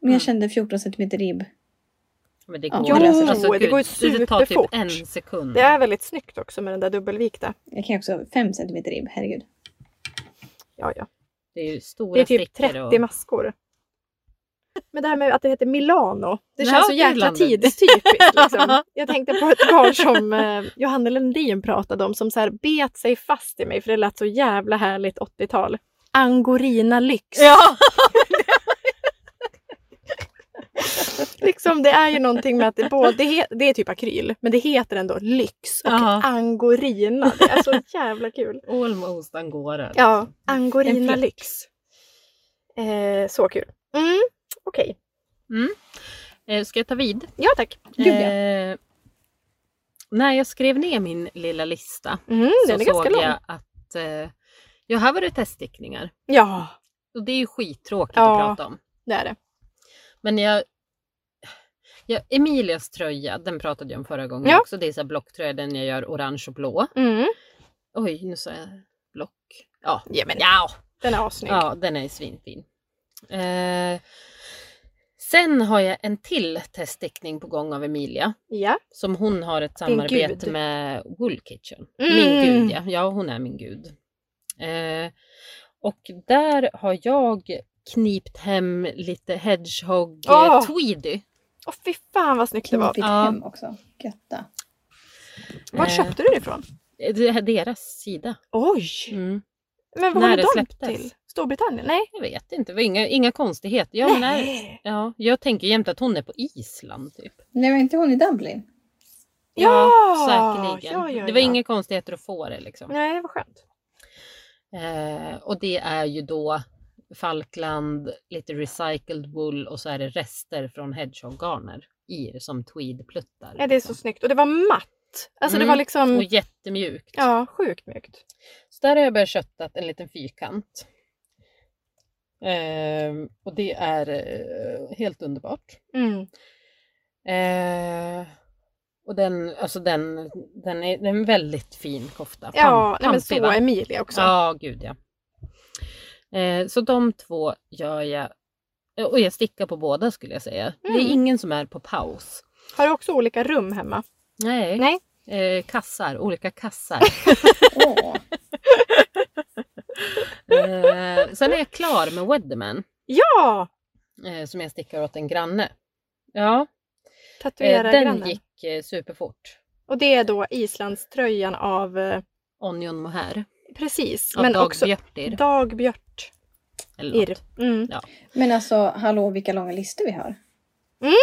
Men
Mm.
jag kände 14 cm ribb.
Men det
Ja.
går, alltså,
Jo,
det går ju
Det tar typ
superfort.
en sekund.
Det är väldigt snyggt också med den där dubbelvikta.
Jag kan ju också 5 cm ribb, herregud.
Ja, ja.
Det är ju stora
Det är typ
stickor
30
och-
maskor. Men det här med att det heter Milano, det
Ja,
känns så
det
jäkla
landet.
tidstypiskt. Liksom. Jag tänkte på ett garn som eh, Johanna Lundin pratade om som så här bet sig fast i mig för det lät så jävla härligt 80-tal. Angorina lyx.
Ja!
Liksom, det är ju någonting med att det både he- det är typ akryl, men det heter ändå lyx och
Ja.
angorina. Det är så jävla kul.
Almost angora.
Ja,
En
angorina
flört.
Mm, lyx. Eh, så kul. Mm, Okej.
Eh, ska jag ta vid?
Ja tack.
Gud, ja.
Eh, när jag skrev ner min lilla lista
Mm, den
så
är ganska
såg
lång.
jag att eh, ja, här var det teststickningar.
Ja,
Och det är ju skittråkigt
Ja.
att prata om.
det är det.
Men jag... Ja, Emilias tröja, den pratade jag om förra gången
Ja.
också. Det är så här blocktröja, den jag gör orange och blå.
Mm.
Oj, nu sa jag block. Ja,
Ja, men
ja.
den är assnygg.
ja den är svinfin. Eh, sen har jag en till teststickning på gång av Emilia.
Ja.
Som hon har ett
Din
samarbete
gud.
med Wool Kitchen.
Mm.
Min gud ja. ja, hon är min gud. Eh, och där har jag knipt hem lite Hedgehog eh,
Åh.
Tweedy.
Åh fy fan vad snyggt det var.
Knipigt
Ja.
hem också. Götta.
Var
Eh,
köpte du det ifrån?
Det är deras sida.
Oj!
Mm.
Men vad
när
var
det
det de
släpptes.
till? Storbritannien? Nej?
Jag vet inte, det var inga, inga konstigheter. Jag, menar,
Nej.
ja, jag tänker jämt att hon är på Island. Typ.
Nej, var inte hon i Dublin?
Ja,
säkerligen.
ja, ja,
det var
ja.
inga konstigheter att få det. Liksom.
Nej, vad skönt.
Eh, och det är ju då Falkland, lite recycled wool och så är det rester från hedgehoggarner i det som tweedpluttar.
Nej, det är så
liksom.
snyggt. Och det var matt. Alltså det
Mm.
var liksom...
Och jättemjukt.
Ja, sjukt mjukt.
Så där har jag börjat köttat en liten fyrkant. Ehm, och det är eh, helt underbart.
Mm.
Eh, och den, alltså den, den, är, den är en väldigt fin kofta.
Ja, nej, men
Pampig, va?
så Emilia också.
Ja, gud ja. Eh, så de två gör jag. eh, Och jag stickar på båda skulle jag säga. Det
Mm.
är ingen som är på paus.
Har du också olika rum hemma?
Nej.
Nej.
Eh, kassar, olika kassar.
Åh,
eh, sen är jag klar med Weatherman.
Ja!
Eh, som jag stickar åt en granne. Ja, eh,
Tatuera
den
grannen.
gick eh, superfort.
Och det är då Islandströjan av... eh,
Onion mohair.
Precis,
Av
men
Dag
också
Björtir.
Dagbjört.
Eller
Ir.
något.
Mm.
men alltså, hallå vilka långa listor vi har.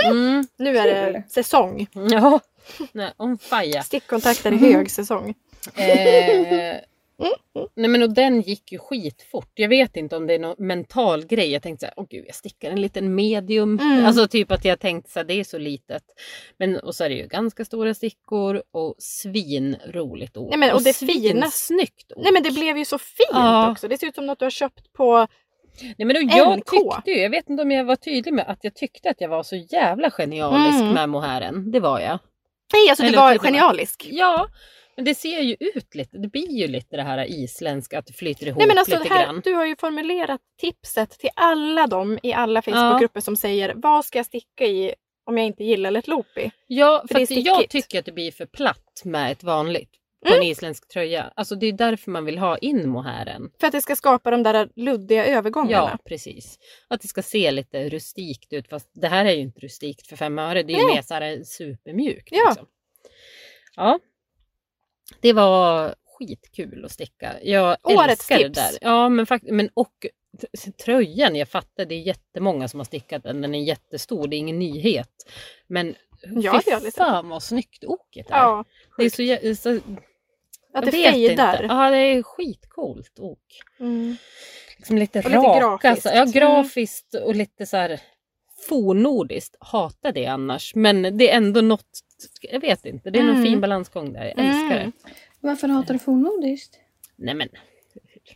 Mm,
Nu är det
Kul.
säsong.
ja, nej, on fire.
Stickkontakter i hög säsong.
Eh, nej men och den gick ju skitfort. Jag vet inte om det är någon mental grej. Jag tänkte så här, åh gud jag stickar en liten medium.
Mm.
Alltså typ att jag tänkte så här, det är så litet. Men och så är det ju ganska stora stickor och svinroligt ord.
Nej, men, och det fina-
snyggt ord.
Nej men det blev ju så fint
Ja.
också. Det ser ut som något du har köpt på...
Nej, men då jag
NK.
tyckte ju, jag vet inte om jag var tydlig med att jag tyckte att jag var så jävla genialisk
Mm.
med mohären. Det var jag.
Nej alltså du
Eller
var
typ-
genialisk.
Ja, men det ser ju ut lite. Det blir ju lite det här isländska att det flyter ihop
Nej men alltså
lite grann.
här, du har ju formulerat tipset till alla dem i alla Facebookgrupper som säger vad ska jag sticka i om jag inte gillar ett loopy?
Ja, för
det är
att jag
stickigt.
tycker att det blir för platt med ett vanligt på
Mm.
en isländsk tröja. Alltså det är därför man vill ha in mohären.
För att det ska skapa de där luddiga
Ja,
övergångarna.
precis. Att det ska se lite rustikt ut. Fast det här är ju inte rustikt för fem öre. Det är ju
Nej.
mer så här supermjukt.
Ja.
Liksom. ja. Det var skitkul att sticka. Jag
Årets
älskar
tips.
det där. Ja, men, fakt- men och t- tröjan, jag fattar det är jättemånga som har stickat den. Den är jättestor, det är ingen nyhet. Men
Ja, det är
fy
lite-
fan vad snyggt oket är.
Ja,
det är så, jä- så
att
jag
det
vet inte.
fejdar.
Ja, det är skitcoolt ok
Mm.
liksom lite
lite
raka.
grafiskt. Mm.
så- Ja, grafiskt och lite så här fornordiskt. Hatar det annars. Men det är ändå något, jag vet inte, det är någon
Mm.
fin balansgång där. Jag älskar
Mm.
det.
Varför hatar du fornordiskt?
Nej men,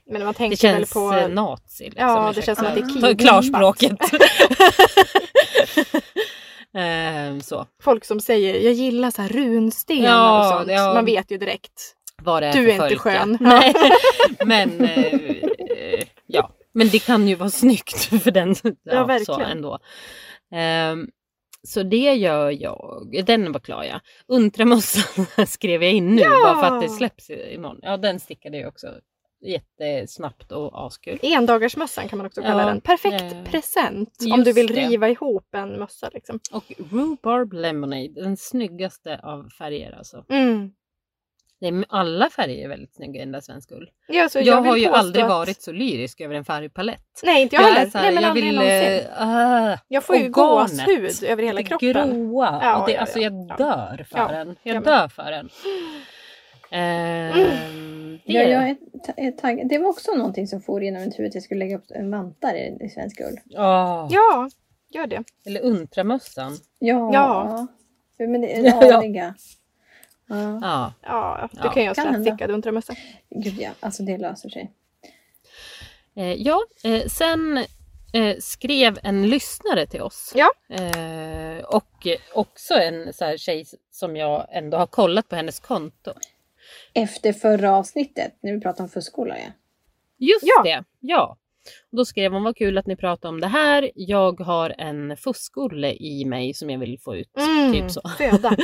Men man
det
tänker
känns
väl
eh,
på...
nazi. Liksom,
Ja, det
ursäkta.
känns som att det är
Ta
Ta
kidnappat.
klarspråket. Ehm, så.
Folk som säger jag gillar så här runstenar
Ja,
och sånt.
ja.
Man vet ju direkt.
Vad det är
Du
Äh, för
är inte
folk,
skön.
Ja. Nej, men eh, eh, ja. Men det kan ju vara snyggt för den. Ja, Så
verkligen.
ändå. Ehm, så det gör jag. Den var klar ja. Untramössan skrev jag in nu bara för att det
Ja.
släpps i- imorgon. Ja den stickade jag också jättesnabbt och askul.
Endagarsmössan kan man också kalla
Ja,
den. Perfekt
eh,
present om
just
du vill
det.
riva ihop en mössa. Liksom.
Och Rhubarb Lemonade, den snyggaste av färger alltså.
Mm.
Det är, alla färger är väldigt snygga i den där svensk ull.
Ja, så
Jag,
vill
har ju
påstå
aldrig
att-
varit så lyrisk över en färgpalett.
Nej, inte jag,
Jag
heller.
är så här,
Nej, men
jag
aldrig
vill...
någonsin.
eh, ah,
Jag får ju
och garnet.
gåshud över hela
det
kroppen.
Gråa.
Ja,
och det,
ja,
alltså
ja,
jag
ja.
dör för
Ja,
den.
jag
Jag
med.
dör för den.
Mm.
Ehm, det
Ja, jag är, ta- är taggad. Det var också någonting som for genom mitt huvud att jag skulle lägga upp en vantar i, i svensk ull.
Åh,
Ja, Gör det.
Ah, Eller untramössan.
Ja.
Ja.
Men det
Ja,
är
ja.
radiga. Ja.
Ja.
Ja, du
Ja,
kan ju ha
kan hända.
slätstickad undermössa.
Gud ja, alltså det löser sig.
Eh, ja, eh, sen eh, skrev en lyssnare till oss.
Ja.
Eh, och eh, också en så här, tjej som jag ändå har kollat på hennes konto.
Efter förra avsnittet, när vi pratade om förskola ja.
Just
Ja.
det, ja. Och Då skrev hon, vad kul att ni pratar om det här. Jag har en fuskolle i mig som jag vill få ut. Typ så.
Mm. Föda.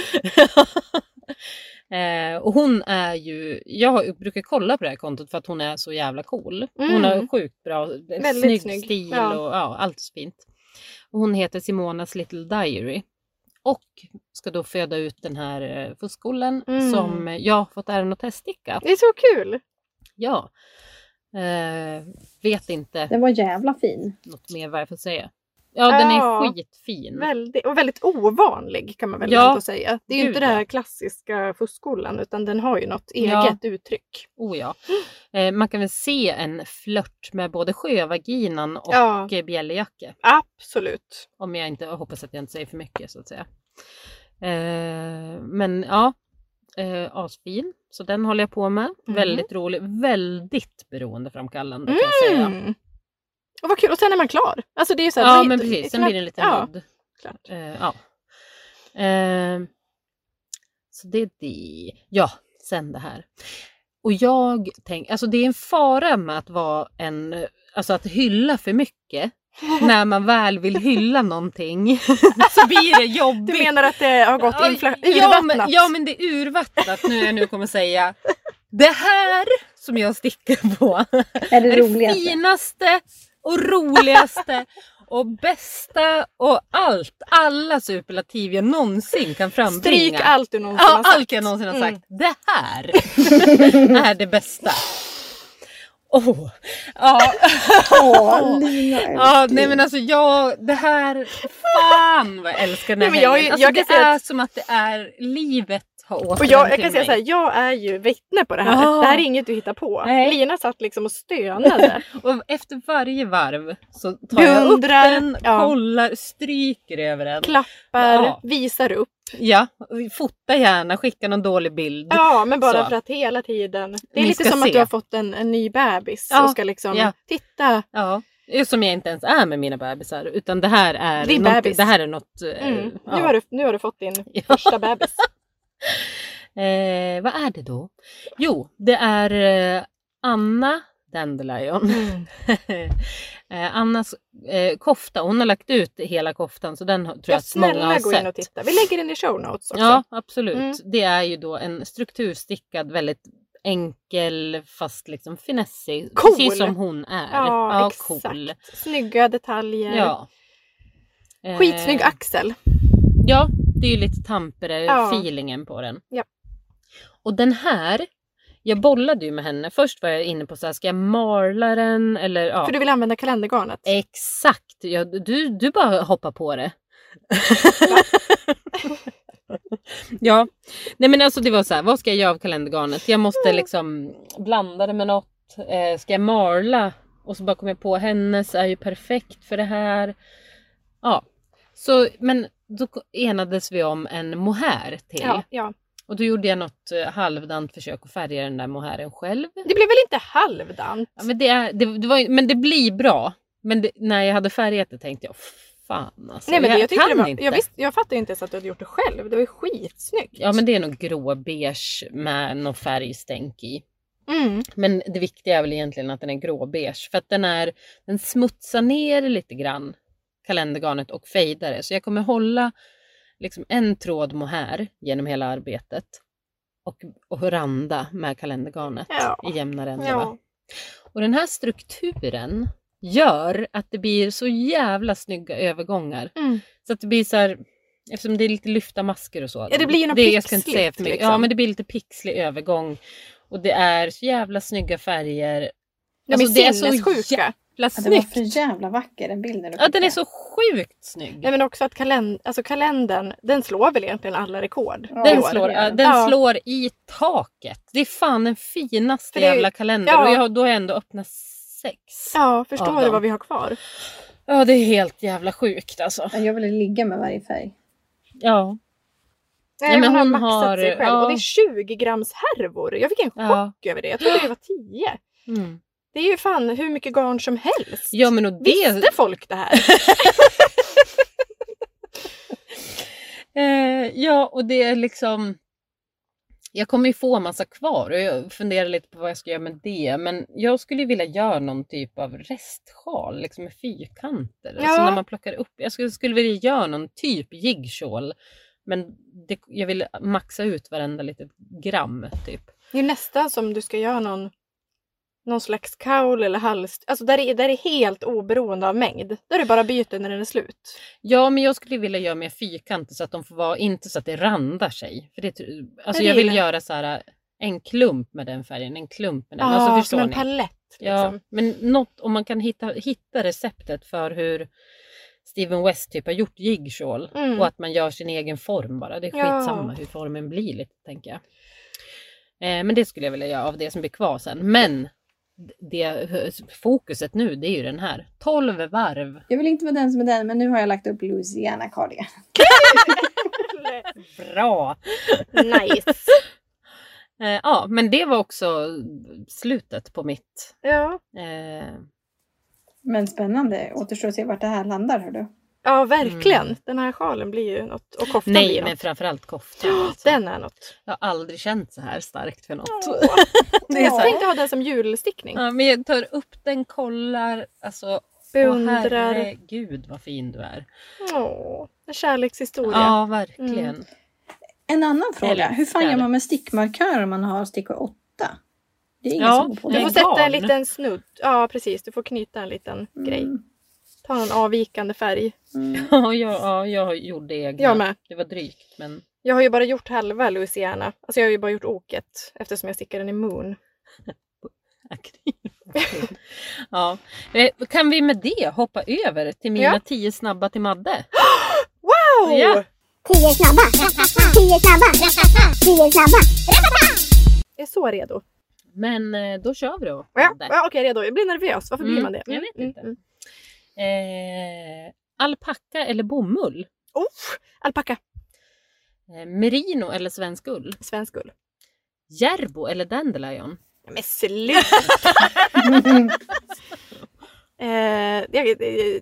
eh, och hon är ju, jag har- brukar kolla på det här kontot för att hon är så jävla cool. Hon
Mm.
har sjukt bra, eh,
Väldigt
snygg,
snygg,
stil
ja.
och ja, allt så fint. Och hon heter Simonas Little Diary. Och ska då föda ut den här eh, fuskollen
Mm.
som jag har fått äran att teststicka.
Det är så kul!
Ja. Eh, vet inte
Den var jävla fin.
något mer vad jag får säga. Ja, den är
Ja.
skitfin.
Väldigt, och väldigt ovanlig kan man väl
Ja,
ändå säga. Det är ju
gud,
inte det här
ja.
klassiska fuskskolan utan den har ju något
Ja.
eget uttryck.
Oh ja. Eh, man kan väl se en flört med både sjövaginan och
Ja,
eh, bjällerjacka.
absolut.
Om jag inte, jag hoppas att jag inte säger för mycket så att säga. Eh, men ja, eh, asfin. Så den håller jag på med.
Mhm.
Väldigt rolig. Väldigt beroendeframkallande kan jag säga.
Mm. Och vad kul! Och sen är man klar. Alltså det är ju så här,
Ja
det-
men
det-
precis, sen
det-
blir det en liten
ja,
nudd.
klart.
Eh, ja. Eh, så det är det. Ja, sen det här. Och jag tänker, alltså det är en fara med att vara en, alltså att hylla för mycket. När man väl vill hylla någonting så blir det jobbigt.
Du menar att det har gått infla-
ja, men,
urvattnat?
ja men det är urvattnat nu när jag nu kommer säga. Det här som jag stickar på
Är det,
är det
roligaste?
finaste och roligaste och bästa och allt. Alla superlativ jag någonsin kan frambringa.
Stryk allt du någonsin
ja,
har sagt.
allt jag någonsin har
Mm.
sagt. Det här är det bästa. Åh! Ja,
Åh, Lina,
ja,
älskling.
nej men alltså jag, det här, fan vad jag älskar den här
Nej, men jag är-
helgen. Alltså,
jag kan
det
säga
är som att det är livet har återvänt
Och jag, jag
till
kan säga
mig.
så här, jag är ju vittne på det här.
Ja.
Det här är inget du hittar på.
Nej.
Lina satt liksom och stönade.
Och efter varje varv så tar jag upp
Dundrar,
den,
ja.
kollar, stryker över den.
Klappar,
Ja.
visar upp.
Ja, och fota gärna, skicka någon dålig bild.
Ja, men bara
Så.
för att hela tiden. Det är
Ni
lite
ska
som
se.
att du har fått en, en ny bebis
Ja,
och ska liksom
ja.
titta.
Ja. Som jag inte ens är med mina bebisar utan det här är
Din
något,
bebis.
det här är något... eh,
Mm.
ja.
Nu, har du, nu har du fått din
Ja.
första bebis.
Eh, vad är det då? Jo, det är eh, Anna Dandelion. eh, Annas eh, kofta, hon har lagt ut hela koftan så den har- tror jag
Jag
att många har
snälla
sett.
gå in och titta. Vi lägger den i show notes också.
Ja, absolut.
Mm.
Det är ju då en strukturstickad, väldigt enkel fast liksom finessig.
Cool.
Precis som hon är.
Ja, exakt.
cool.
Snygga detaljer.
Ja. Eh,
Skitsnygg axel.
Ja, det är ju lite
Ja.
Tampere-feelingen på den.
Ja.
Och den här, jag bollade ju med henne. Först var jag inne på så här, ska jag marla den eller ja.
För du vill använda kalendergarnet.
Exakt! Ja, du, du bara hoppar på det. ja. Nej men alltså det var så här, vad ska jag göra av kalendergarnet? Jag måste liksom blanda det med något. Eh, ska jag marla? Och så bara kom jag på, hennes är ju perfekt för det här. Ja. Så, men då enades vi om en mohair till.
Ja, ja.
Och då gjorde jag något eh, halvdant försök att färga den där mohairen själv.
Det blev väl inte halvdant?
Ja, men, det är, det, det var, ju- men det blir bra. Men det, när jag hade färgat det tänkte jag, fan alltså.
Nej, men det, jag,
jag
tyckte
kan
det var,
inte.
jag, visst, jag fattar ju inte ens att du hade gjort det själv. Det var ju skitsnyggt.
Ja men det är nog gråbeige med någon färgstänk i.
mm.
Men det viktiga är väl egentligen att den är gråbeige för att den, är, den smutsar ner lite grann kalendergarnet och fejdar det. Så jag kommer hålla liksom en tråd mohair genom hela arbetet och, och randa med kalendergarnet
Ja.
i jämna ränder. va?
ja.
Och den här strukturen gör att det blir så jävla snygga övergångar.
Mm.
Så att det blir så här, eftersom det är lite lyfta masker och så.
Ja, det blir ju något
jag ska inte
pixligt,
säga för mycket. Ja,
liksom.
men det blir lite pixlig övergång. Och det är så jävla snygga färger.
De
Alltså, det är
är
så
sinnessjuka.
Jävla
Ja, den var
snyggt!
för jävla vacker den bilden du
Ja, den är
skickade.
så sjukt snygg.
Nej, men också att kalend alltså, kalendern, den slår väl egentligen alla rekord.
Ja,
i
Den
år.
slår, ja, den
Ja.
slår i taket. Det är fan den finaste
För det är ju-
jävla kalendern.
ja.
Och jag, har- då har jag ändå öppnat sex.
Ja,
av
förstår du
dem.
vad vi har kvar?
Ja, det är helt jävla sjukt alltså.
Men Jag ville ligga med varje färg.
Ja.
Nej,
Nej, men
hon, har
hon
maxat
har-
sig själv.
ja.
Och det är 20 grams härvor. Jag fick en
Ja.
chock över det. Jag trodde det var 10.
Mm.
Det är ju fan hur mycket garn som helst.
Ja, men och det...
Visste folk det här?
Eh, ja, och det är liksom... Jag kommer ju få en massa kvar och jag funderar lite på vad jag ska göra med det. Men jag skulle ju vilja göra någon typ av restsjal, liksom med fyrkanter.
Ja.
Alltså när man plockar upp. Jag skulle, skulle vilja göra någon typ jiggkjol. Men det, jag vill maxa ut varenda litet gram typ.
Det är ju nästan som du ska göra någon, någon slags kaul eller hals. Alltså där är, där är helt oberoende av mängd. Där du bara byter när den är slut.
Ja, men jag skulle vilja göra mer fyrkanter så att de får vara, inte så att det randar sig. För det, tror- alltså
det
jag vill
gillar jag.
göra så här en klump med den färgen, en klump med den.
Ja,
alltså, förstår
Ah, som en
ni?
palett.
Ja,
Liksom.
men något, om man kan hitta, hitta receptet för hur Steven West typ har gjort jiggkjol
Mm.
och att man gör sin egen form bara. Det är
Ja.
skitsamma hur formen blir lite tänker jag. Eh, men det skulle jag vilja göra av det som blir kvar sen. Men det, fokuset nu det är ju den här. 12 varv.
Jag vill inte vara den som är den, men nu har jag lagt upp Louisiana cardigan.
Bra!
nice.
Eh, ja, men det var också slutet på mitt.
Ja.
Eh,
Men spännande. Återstår att se vart det här landar, hör du.
ja, verkligen. Den här sjalen blir ju något. Och koftan blir
Mm. nej,
ju
men
något.
framförallt koftan. alltså.
Den är något.
Jag har aldrig känt så här starkt för något.
Det
är så
jag
här-
tänkte ha den som julstickning.
Ja, men jag tar upp den, kollar, alltså. Åh,
Beundrar.
herregud vad fin du är.
Åh, en kärlekshistoria.
Ja, verkligen.
Oh, Mm.
En annan fråga.
Eller
Hur fan gör
ställ.
man med stickmarkörer om man har stickor 8? Det är ingen
Ja,
som går på
det
Du
det.
får
Nej,
sätta
garn.
en liten snudd. Ja, precis. Du får knyta en liten grej.
Mm,
Ta någon avvikande färg.
mm.
Ja, jag, ja, jag gjorde egna.
Jag med.
Det var drygt men
Jag har ju bara gjort halva Louisiana. Alltså jag har ju bara gjort oket eftersom jag stickar den i Moon.
ja. Eh, Kan vi med det hoppa över till mina
Ja.
tio snabba till Madde?
Wow!
Ja.
Tio snabba, tio snabba, tio snabba.
Jag är så redo.
Men eh, då kör vi då.
Ja,
Madde.
ja, okej, redo. Jag blir nervös. Varför blir
Mm,
man det?
jag vet inte.
Mm.
Eh, alpacka eller bomull?
Oh, alpacka.
Eh, merino eller svensk ull?
Svensk ull.
Järbo eller dandelion?
Ja, Men sluta! eh, jag, eh, eh,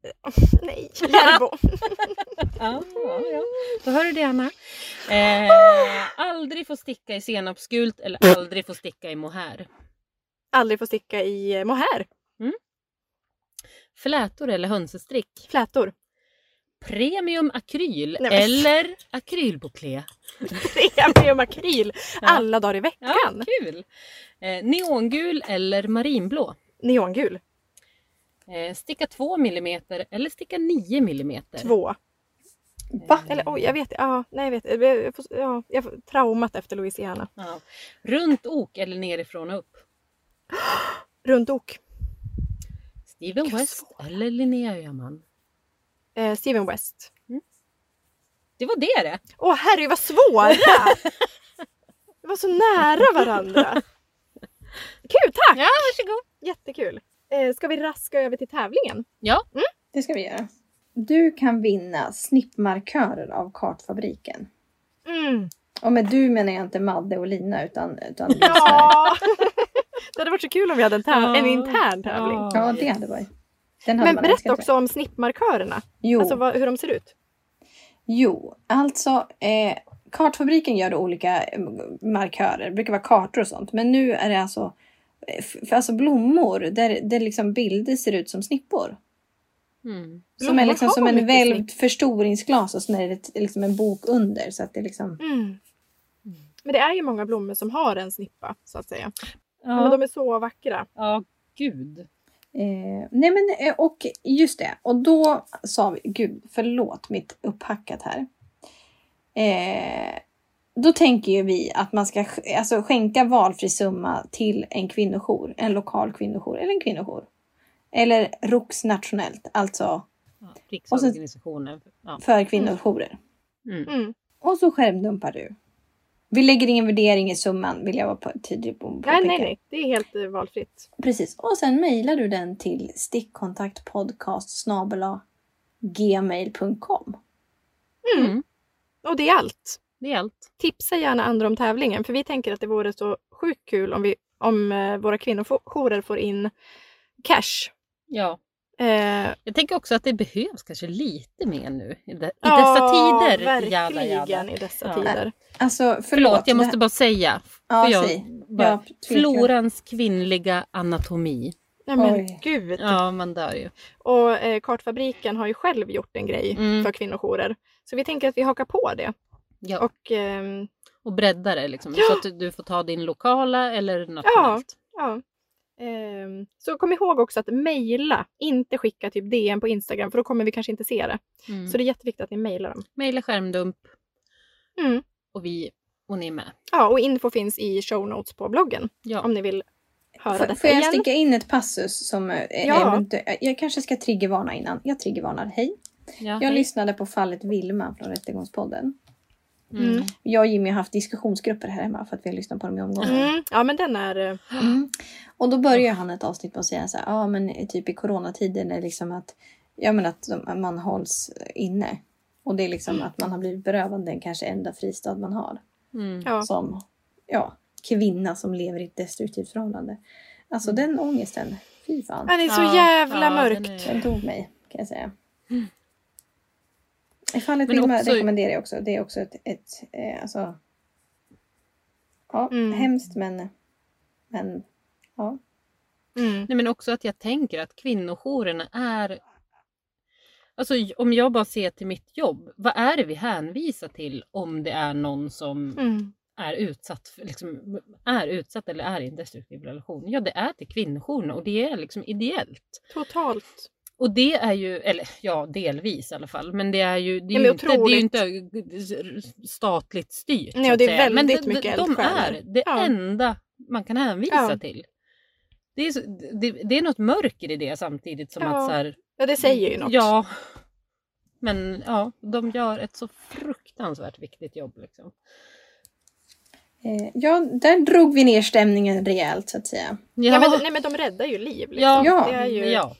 nej, Järbo.
Ja, ja, ja. Då hör du det Anna. Eh, aldrig få sticka i senapsgult
Mm.
eller aldrig få sticka i mohair.
Aldrig få sticka i eh, mohair.
Flätor eller hönsestrick.
Flätor.
Premium akryl
Nej, men-
eller akrylbouclé.
Premium makryl.
Ja.
Alla dagar i
Ja,
veckan.
kul! Eh, neongul eller marinblå.
Neongul.
Eh, sticka 2 mm eller sticka 9 mm.
Två.
Va?
Eller oj, jag vet Ja, nej jag vet jag får, ja, jag får traumat efter Louisiana.
Ja. Runt ok eller nerifrån och upp.
Runt ok.
Steven
Gud,
West eller Linnea Öhman.
Eh, Steven West.
Det var det det!
Åh herregud vad svåra! Det var så nära varandra. Kul, tack!
Ja, varsågod!
Jättekul. Eh, ska vi raska över till tävlingen?
Det ska vi göra. Du kan vinna snippmarkörer av Kartfabriken.
Mm.
Och med du menar jag inte Madde och Lina utan... utan
Ja! Det hade varit så kul om vi hade en, täv- en intern tävling.
ja, det hade varit. Den hade
Men
man
berätta
älskat, tror
också om snippmarkörerna.
jag. Jo.
Alltså vad, hur de ser ut.
Jo, alltså eh, kartfabriken gör då olika eh, markörer. Det brukar vara kartor och sånt. Men nu är det alltså, eh, f- för alltså blommor där, där liksom bilder ser ut som snippor.
Mm.
som
Blommor
är liksom
har
som en
mycket
välvd förstoringsglas och sen är det ett- liksom en bok under. Så att det liksom...
Mm. Men det är ju många blommor som har en snippa så att säga. Men
Ja.
de är så vackra.
ja, gud.
Eh, nej men eh, och just det. Och då sa vi, gud förlåt mitt upphackat här. Eh, då tänker ju vi att man ska sk- alltså, skänka valfri summa till en kvinnojour, en lokal kvinnojour eller en kvinnojour. Eller ROKS nationellt, alltså
Ja, Riksorganisationen. Ja.
för kvinnojourer.
Mm.
Mm.
Och så skärmdumpar du. Vi lägger ingen värdering i summan vill jag vara på- tydlig på.
Nej, nej,
påpeka.
nej. Det är helt eh, valfritt.
Precis. Och sen mejlar du den till stickkontaktpodcast gmail.com.
Mm.
Mm.
Och det är allt.
Det är allt.
Tipsa gärna andra om tävlingen för vi tänker att det vore så sjukt kul om, vi, om eh, våra kvinnojourer får in cash.
Ja.
Eh,
Jag tänker också att det behövs kanske lite mer nu i, de, i
ja,
dessa tider.
Verkligen
Jada, jada.
i dessa
Ja.
tider.
Alltså förlåt.
Förlåt, jag
det-
måste bara säga.
Ja,
för jag-
säg.
Bara,
Ja, tveka.
Florans kvinnliga anatomi.
Nej, men
Oj.
gud.
Ja, man dör ju.
Och eh, Kartfabriken har ju själv gjort en grej
Mm.
för kvinnojourer. Så vi tänker att vi hakar på det.
Ja.
Och ehm,
Och bredda det liksom.
Ja.
Så att du får ta din lokala eller nationellt.
ja. Ehm, så kom ihåg också att mejla, inte skicka typ DM på Instagram för då kommer vi kanske inte se det.
Mm.
Så det är jätteviktigt att ni mejlar dem.
Mejla skärmdump
Mm.
och vi och ni är med.
Ja, och info finns i show notes på bloggen
Ja.
om ni vill höra
F-
detta
Får jag
igen.
sticka in ett passus som eh,
Ja.
eventu- Jag kanske ska triggervarna innan. Jag triggervarnar. Hej.
Ja,
Jag
hej.
lyssnade på fallet Vilma från Rättegångspodden.
Mm.
Jag och Jimmy har haft diskussionsgrupper här hemma för att vi har lyssnat på dem i omgångar.
Mm, ja, men den är... eh,
Och då börjar han ett avsnitt med att säga så här, ja men typ i coronatiden är det liksom att, ja men att de- att man hålls inne. Och det är liksom att man har blivit berövad den kanske enda fristad man har.
Mm.
Ja.
Som, ja, kvinna som lever i ett destruktivt förhållande. Alltså den ångesten, fy fan.
Den är så
Ja,
jävla
ja, den
mörkt.
är-
Den tog mig kan jag säga. I fallet
Men
Vilma
också-
rekommenderar jag också. Det är också ett, ett eh, alltså. Ja,
Mm.
hemskt men, men ja.
Mm.
Nej, men också att jag tänker att kvinnojourerna är... Alltså om jag bara ser till mitt jobb, vad är det vi hänvisar till om det är någon som
Mm.
är utsatt, för- liksom, är utsatt eller är i en destruktiv relation? Ja, det är till kvinnojourerna och det är liksom ideellt.
Totalt.
Och det är ju, eller ja, delvis i alla fall, men det är ju, det
Ja,
är
men
ju, inte, det är ju
otroligt.
inte eh, statligt styrt.
Nej,
så
och det är
att säga. men
väldigt
de- de-
mycket
De
eldsjälar.
är det
Ja.
enda man kan hänvisa
Ja.
till. Det är, så, det, det är något mörker i det samtidigt som
Ja,
att så här,
Ja, det säger ju något.
Ja. Men ja, de gör ett så fruktansvärt viktigt jobb. Liksom.
Eh, ja, där drog vi ner stämningen rejält så att säga.
Ja, men, nej, men de räddar ju liv. Liksom.
Ja,
Ja.
Det är ju...
ja.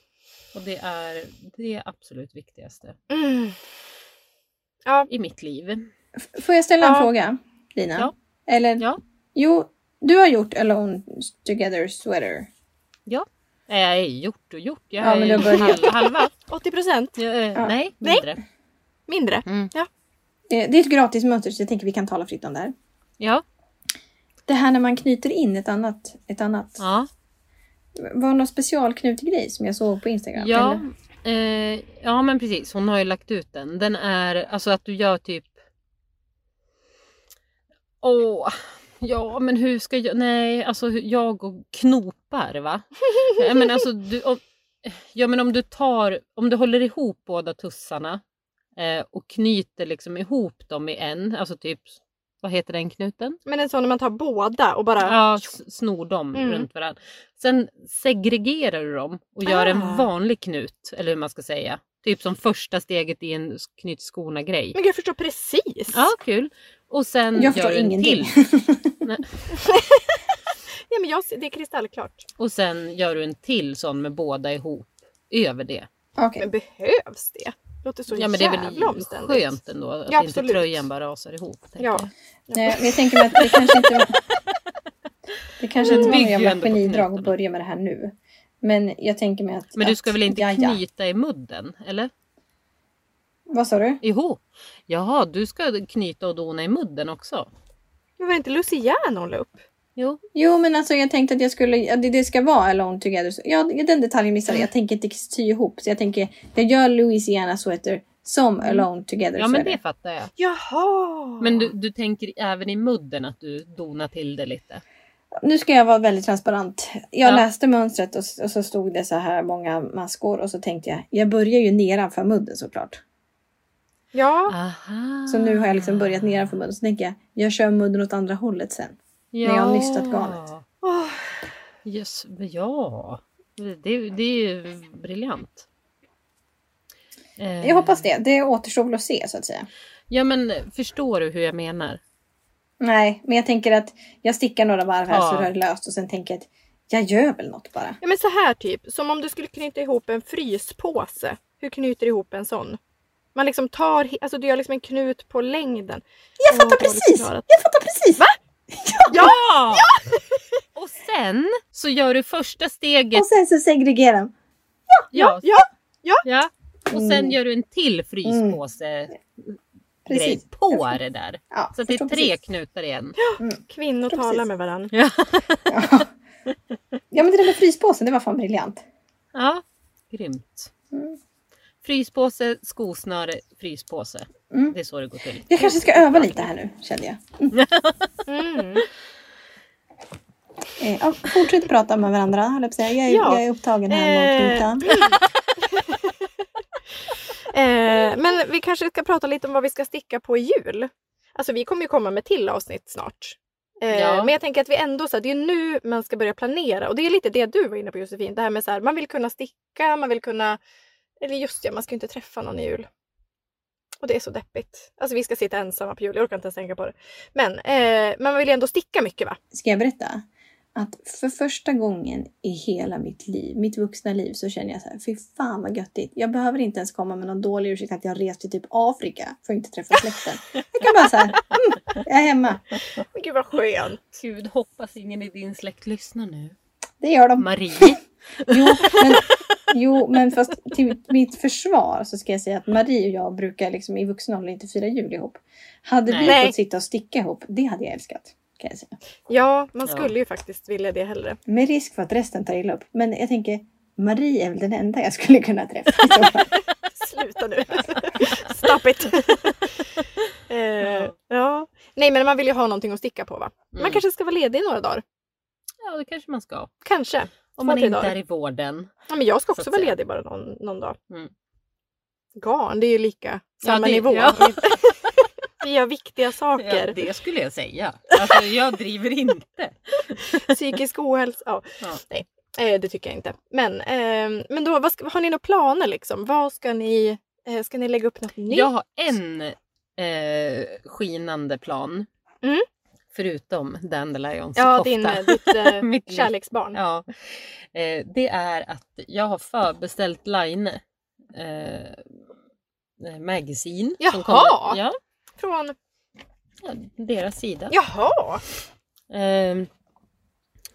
Och det är det absolut viktigaste
Mm. Ja,
i mitt liv.
F- får jag ställa en
Ja.
fråga Lina?
Ja.
Eller?
Ja.
Jo, du har gjort Alone Together Sweater.
Nej, Jag är gjort och gjort. Jag
Ja,
är
men du har börjat.
hal- halva.
80 procent
Jag, är-
Ja.
Eh, Nej,
Nej.
mindre.
mindre.
Mm.
Eh, det är ett gratis mönster så jag tänker vi kan tala fritt om det här.
Ja.
Det här när man knyter in ett annat, ett annat.
ja.
Var det någon specialknutgrej som jag såg på Instagram?
Ja,
eller?
eh, ja men precis. Hon har ju lagt ut den. Den är alltså att du gör typ... Åh, ja men hur ska jag... Nej, alltså hur- jag och knopar va? Nej, men alltså du... Om, ja men om du tar... Om du håller ihop båda tussarna eh, och knyter liksom ihop dem i en, alltså typ... Vad heter den knuten?
Men en sån när man tar båda och bara...
Ja, s- snor dem
Mm.
runt varandra. Sen segregerar du dem och gör
Ah.
en vanlig knut, eller hur man ska säga. Typ som första steget i en s- knyt skorna grej.
Men gud, jag förstår precis.
Ja, kul. Och sen
Jag
gör
förstår
du en
ingenting.
till.
Nej, men jag, det är kristallklart.
Och sen gör du en till sån med båda ihop över det.
Ah, Okej.
Men behövs det? Det låter så
ja men det är
jävla
väl
omständigt.
skönt ändå att inte
Ja, absolut.
tröjan bara rasar ihop. tänker
Ja.
jag.
Nej, Eh, men jag tänker mig att det kanske inte var... Det kanske inte var
Bygger
någon
ju ändå
jävla
på
genidrag att
knutarna.
börja med det här nu. Men jag tänker mig att...
Men du
att-
ska väl inte
ja, ja.
knyta i mudden? Eller?
Vad sa du?
Ihop? Jaha, du ska knyta och dona i mudden också?
Men var det inte Luciano hon la upp?
Jo.
Jo, men alltså jag tänkte att jag skulle... ja, Det, det ska vara Alone Together. Så- Ja, den detaljen missade jag. Jag tänker inte sy ihop. Så jag tänker, jag gör Louisiana Sweater som Alone Together
Mm. Ja men
Sweater.
det fattar jag.
Jaha!
Men du, du tänker även i mudden att du donar till det lite?
Nu ska jag vara väldigt transparent. Jag
Ja.
läste mönstret och, och så stod det så här många maskor och så tänkte jag, jag börjar ju nedanför mudden såklart.
Ja,
Aha.
Så nu har jag liksom börjat nedanför mudden. Så tänker jag, jag kör mudden åt andra hållet sen. när jag har nystat garnet.
Åh,
Yes, ja, det, det är ju briljant. Eh,
Jag hoppas det. Det återstår väl att se så att säga.
Ja men förstår du hur jag menar?
Nej, men jag tänker att jag stickar några varv här så
Ja.
rör det löst och sen tänker jag att jag gör väl något bara.
Ja men så här typ, som om du skulle knyta ihop en fryspåse. Hur knyter du ihop en sån? Man liksom tar, he- alltså du gör liksom en knut på längden.
Jag
Åh,
fattar
dåligt
precis!
förklarat.
Jag fattar precis! Va?
Ja! Och sen så gör du första steget.
Och sen så segregerar de.
Ja,
ja, ja.
ja. Och sen
Mm.
gör du en till fryspåse grej
Precis.
på det där.
Ja,
Så att det är
förstår
tre
precis.
knutar igen.
Kvinnor
Precis.
talar med varandra.
Ja. ja men det där med fryspåsen, det var fan briljant.
Ja, grymt.
Mm.
Fryspåse, skosnöre, fryspåse.
Mm.
Det är så det går till.
Jag kanske ska öva lite här nu känner jag.
Mm.
Eh, ja, fortsätt prata med varandra höll jag på att säga. Jag är,
Ja.
jag är upptagen här
Eh.
med knutan.
Eh, men vi kanske ska prata lite om vad vi ska sticka på i jul. Alltså vi kommer ju komma med till avsnitt snart. Eh,
Ja.
Men jag tänker att vi ändå så här, det är nu man ska börja planera och det är lite det du var inne på Josefin. Det här med så här, man vill kunna sticka, man vill kunna... Eller just ja, man ska ju inte träffa någon i jul. Och det är så deppigt. Alltså vi ska sitta ensamma på jul, jag orkar inte ens tänka på det. Men eh, man vill ju ändå sticka mycket va?
Ska jag berätta? Att för första gången i hela mitt liv, mitt vuxna liv, så känner jag så här, fy fan vad göttigt. Jag behöver inte ens komma med någon dålig ursäkt att jag rest till typ Afrika för att inte träffa släkten. Jag kan bara så här, mm, jag är hemma.
Men gud vad skönt!
Gud, hoppas ingen i din släkt lyssnar nu.
Det gör de.
Marie.
Jo, men, jo, men fast till mitt försvar så ska jag säga att Marie och jag brukar liksom i vuxen ålder inte fira jul ihop. Hade
Nej.
vi fått sitta och sticka ihop, det hade jag älskat. Kan jag säga.
Ja, man
Ja.
skulle ju faktiskt vilja det hellre.
Med risk för att resten tar illa upp. Men jag tänker, Marie är väl den enda jag skulle kunna träffa. i så fall.
Sluta nu. Stop it. eh, ja.
Ja.
Nej men man vill ju ha någonting att sticka på va? Man
Mm.
kanske ska vara ledig i några dagar.
Ja, det kanske man ska.
Kanske.
Om man
tre
inte
dagar.
är i vården.
Ja, men jag ska
Så
också
att
vara
säga.
ledig bara någon, någon dag.
Mm.
Garn, det är ju lika.
Ja,
Samma
det-
nivå.
ja.
Vi gör viktiga
Ja,
saker.
det skulle jag säga. Alltså, jag driver inte.
Psykisk ohälsa. Ja.
Ja.
Nej, eh, det tycker jag inte. Men, ehm, men då, vad ska, har ni några planer liksom? Vad ska ni, eh, ska ni lägga upp något nytt?
Jag har en eh, skinande plan.
Mm.
Förutom Dandelions
ja
kofta.
din, eh, ditt eh,
Mitt liv.
kärleksbarn.
Ja, eh, det är att jag har förbeställt Line eh, eh, Magazine.
Jaha!
Som kommer, ja,
Från,
ja, deras sida.
jaha!
Ehm,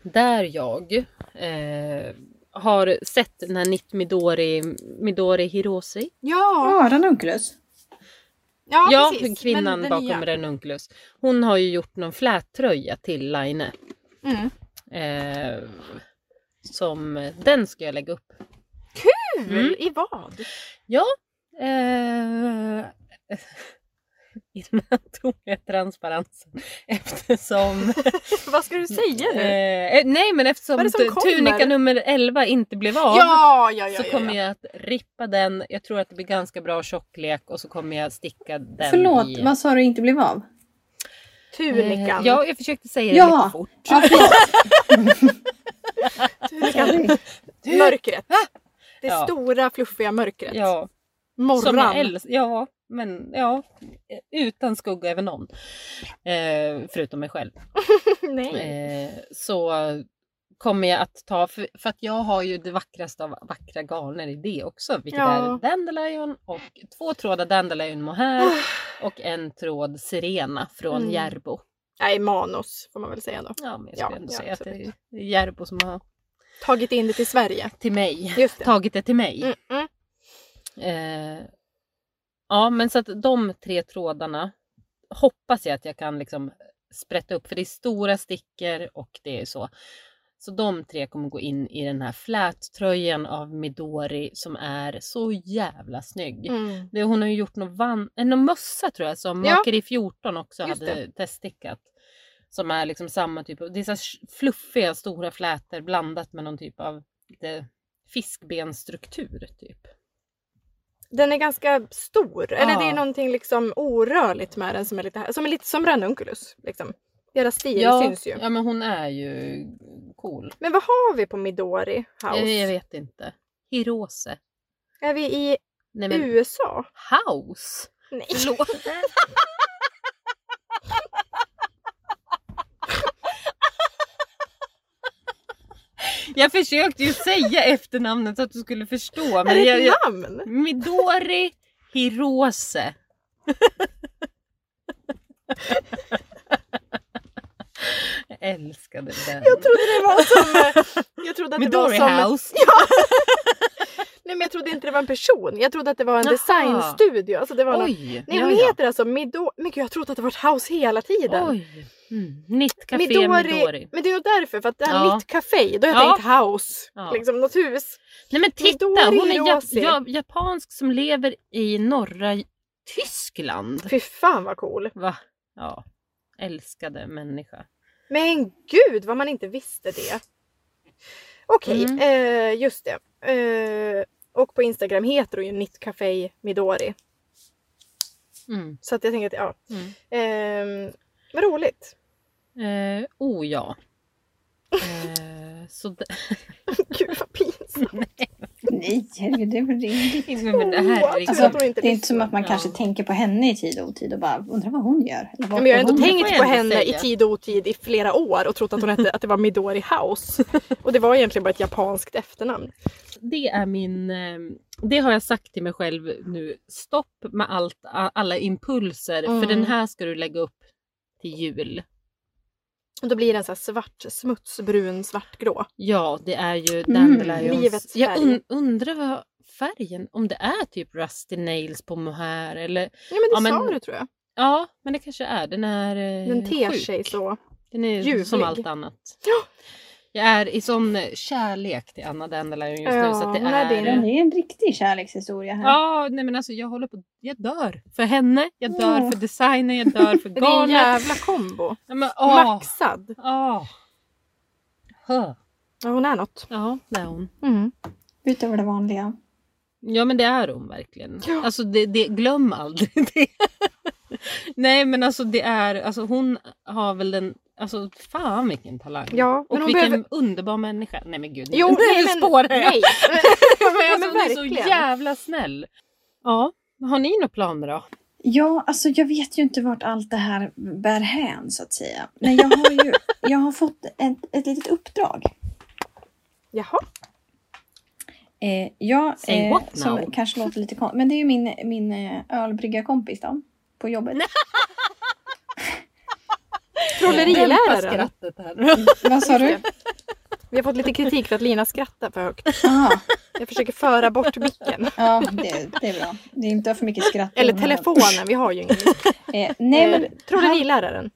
där jag eh, har sett den här Nit Midori, Midori Hirose.
Ja,
Ja, ranunculus.
ja,
Ja,
precis. Men
kvinnan
den
bakom
nya.
Ranunculus. Hon har ju gjort någon flättröja till Line.
Mm.
Eh, som, den ska jag lägga upp
Kul!
Mm.
I vad?
Ja. Eh, I den här tokiga transparensen. Eftersom...
vad ska du säga nu?
eh, nej men
Vad är
eftersom
det som
tu-
kommer?
tunika nummer 11 inte blev av.
ja, ja, ja.
så
ja,
kommer
ja.
jag att rippa den. Jag tror att det blir ganska bra tjocklek och så kommer jag sticka den
Förlåt,
i...
vad sa du inte blev av?
Tunikan.
Eh, ja, jag försökte säga det
Ja.
lite fort.
Ja, förlåt.
Tunikan. Mörkret. Det
Ah! Ja.
stora fluffiga mörkret.
Ja, som jag
Morran.
äls- ja, men ja. Utan skugga över någon. Eh, förutom mig själv.
Nej.
Eh, så kommer jag att ta, för, för att jag har ju det vackraste av vackra garner i det också, vilket
Ja.
är dandelion och två trådar dandelion mohair och en tråd sirena från
Ah. Mm.
Järbo.
Nej, manus får man väl säga då.
Ja, men jag
Ja,
skulle ändå
ja,
säga att det är Järbo som har
Tagit in det till Sverige.
till mig,
Just det.
tagit det till mig.
Mm, mm.
Eh, ja, men så att de tre trådarna hoppas jag att jag kan liksom sprätta upp, för det är stora stickor och det är så. Så de tre kommer gå in i den här flättröjan av Midori som är så jävla snygg.
Mm.
Det, hon har ju gjort någon, van, eh, någon mössa tror jag som
Ja.
Makeri 14 också
Just
hade teststickat. Som är liksom samma typ av, det är så här sh- fluffiga stora flätor blandat med någon typ av lite fiskbenstruktur typ.
Den är ganska stor. Eller
Ja.
det är någonting liksom orörligt med den som är lite, här- som, är lite som ranunculus. Liksom. Deras stil
ja,
syns ju.
Ja, men hon är ju cool.
Men vad har vi på Midori House?
Jag, jag vet inte. Hirose.
Är vi i
Nej men
USA?
house.
Nej.
Förlåt. Jag försökte ju säga efternamnet så att du skulle förstå.
Är
Men
det
jag,
ett
jag,
namn?
Midori Hirose. jag älskade den.
Jag trodde det var som... Jag trodde att det var
Midori
som...
House.
Nej men jag trodde inte det var en person. Jag trodde att det var en
Jaha.
designstudio. Alltså det var någon...
Oj!
Nej
ja,
hon
ja.
heter alltså Midori... Men gud jag trodde att det var ett house hela tiden.
Oj! Mm. Nytt café
Midori.
Midori.
Men det är ju därför, för att det här
Ja.
mitt café, då har jag
Ja.
tänkt house.
Ja.
Liksom något hus.
Nej men titta,
Midori
hon är
Hirose.
jap- ja, japansk som lever i norra Tyskland.
Fy fan vad cool.
Va? Ja. Älskade människa.
Men gud vad man inte visste det. Okej,
Mm.
eh, just det. Eh, och på Instagram heter hon ju Nitt Café Midori.
Mm.
Så att jag tänker att ja.
Mm.
Ehm, vad roligt.
Eh, oh ja. Eh, så d-
Gud vad pinsamt.
Nej, herregud, det är väl rimligt.
Nej, men det här är liksom...
Åh, alltså,
Alltså,
att hon inte
det är inte
lyssnar.
som att man
Ja.
kanske tänker på henne i tid och otid och bara undrar vad hon gör. Eller
Ja,
vad
men jag har ändå
hon
får
tänkt
jag
på
ändå
henne
säga.
i tid och otid i flera år och trott att, hon hette, att det var Midori House. Och det var egentligen bara ett japanskt efternamn.
Det är min... eh, Det har jag sagt till mig själv nu. Stopp med allt, a- alla impulser. För
Mm.
den här ska du lägga upp till jul.
Och då blir den så här svart, smutsbrun, svartgrå.
Ja, det är ju
Mm.
dandelions.
Livets färg.
Jag un- undrar vad färgen, om det är typ rusty nails på mohair eller...
Ja men det
Ja, men-
sa du tror jag.
Ja, men det kanske är. Den är eh,
Den ter sig
sjuk.
så.
Den är
ljuvlig.
som allt annat.
Ja.
Jag är i sån eh, kärlek till Anna Dandelion just nu
Ja,
så att det
hon är
är...
din.
Ja, det är en riktig kärlekshistoria här.
Ja, nej men alltså jag håller på, jag dör för henne, jag dör
Ja.
för designen, jag dör för
Det är en
garnet.
jävla kombo.
Ja, men, åh,
Maxad.
åh. Huh.
Ja hon är något.
Ja, det är hon.
Mm.
Utöver det vanliga.
Ja men det är hon verkligen.
Ja.
Alltså det, det, glöm aldrig det. Nej men alltså det är, alltså hon har väl den, alltså fan vilken talang.
Ja,
Och
men hon
vilken
behöver...
underbar människa. Nej men gud,
Jo,
nu
nej, men-
spårar jag.
Nej.
men
Ja,
alltså,
men
hon är så
verkligen.
jävla snäll. Ja, har ni några planer då?
Ja, alltså jag vet ju inte vart allt det här bär hän så att säga. Men jag har ju jag har fått ett, ett litet uppdrag.
Jaha.
Eh, jag,
Say
eh,
what now?
som kanske låter lite konstigt, men det är ju min, min eh, ölbryggarkompis då, på jobbet.
Dämpa
Trolleriläraren.
skrattet här nu.
Vad sa du?
Just Vi har fått lite kritik för att Lina skrattar för högt.
Aha,
Jag försöker föra bort micken.
ja, det, det är bra. Det är inte för mycket skratt. i
Eller
den här.
telefonen, vi har ju ingen.
Eh, nej, men Eh.
Trolleriläraren.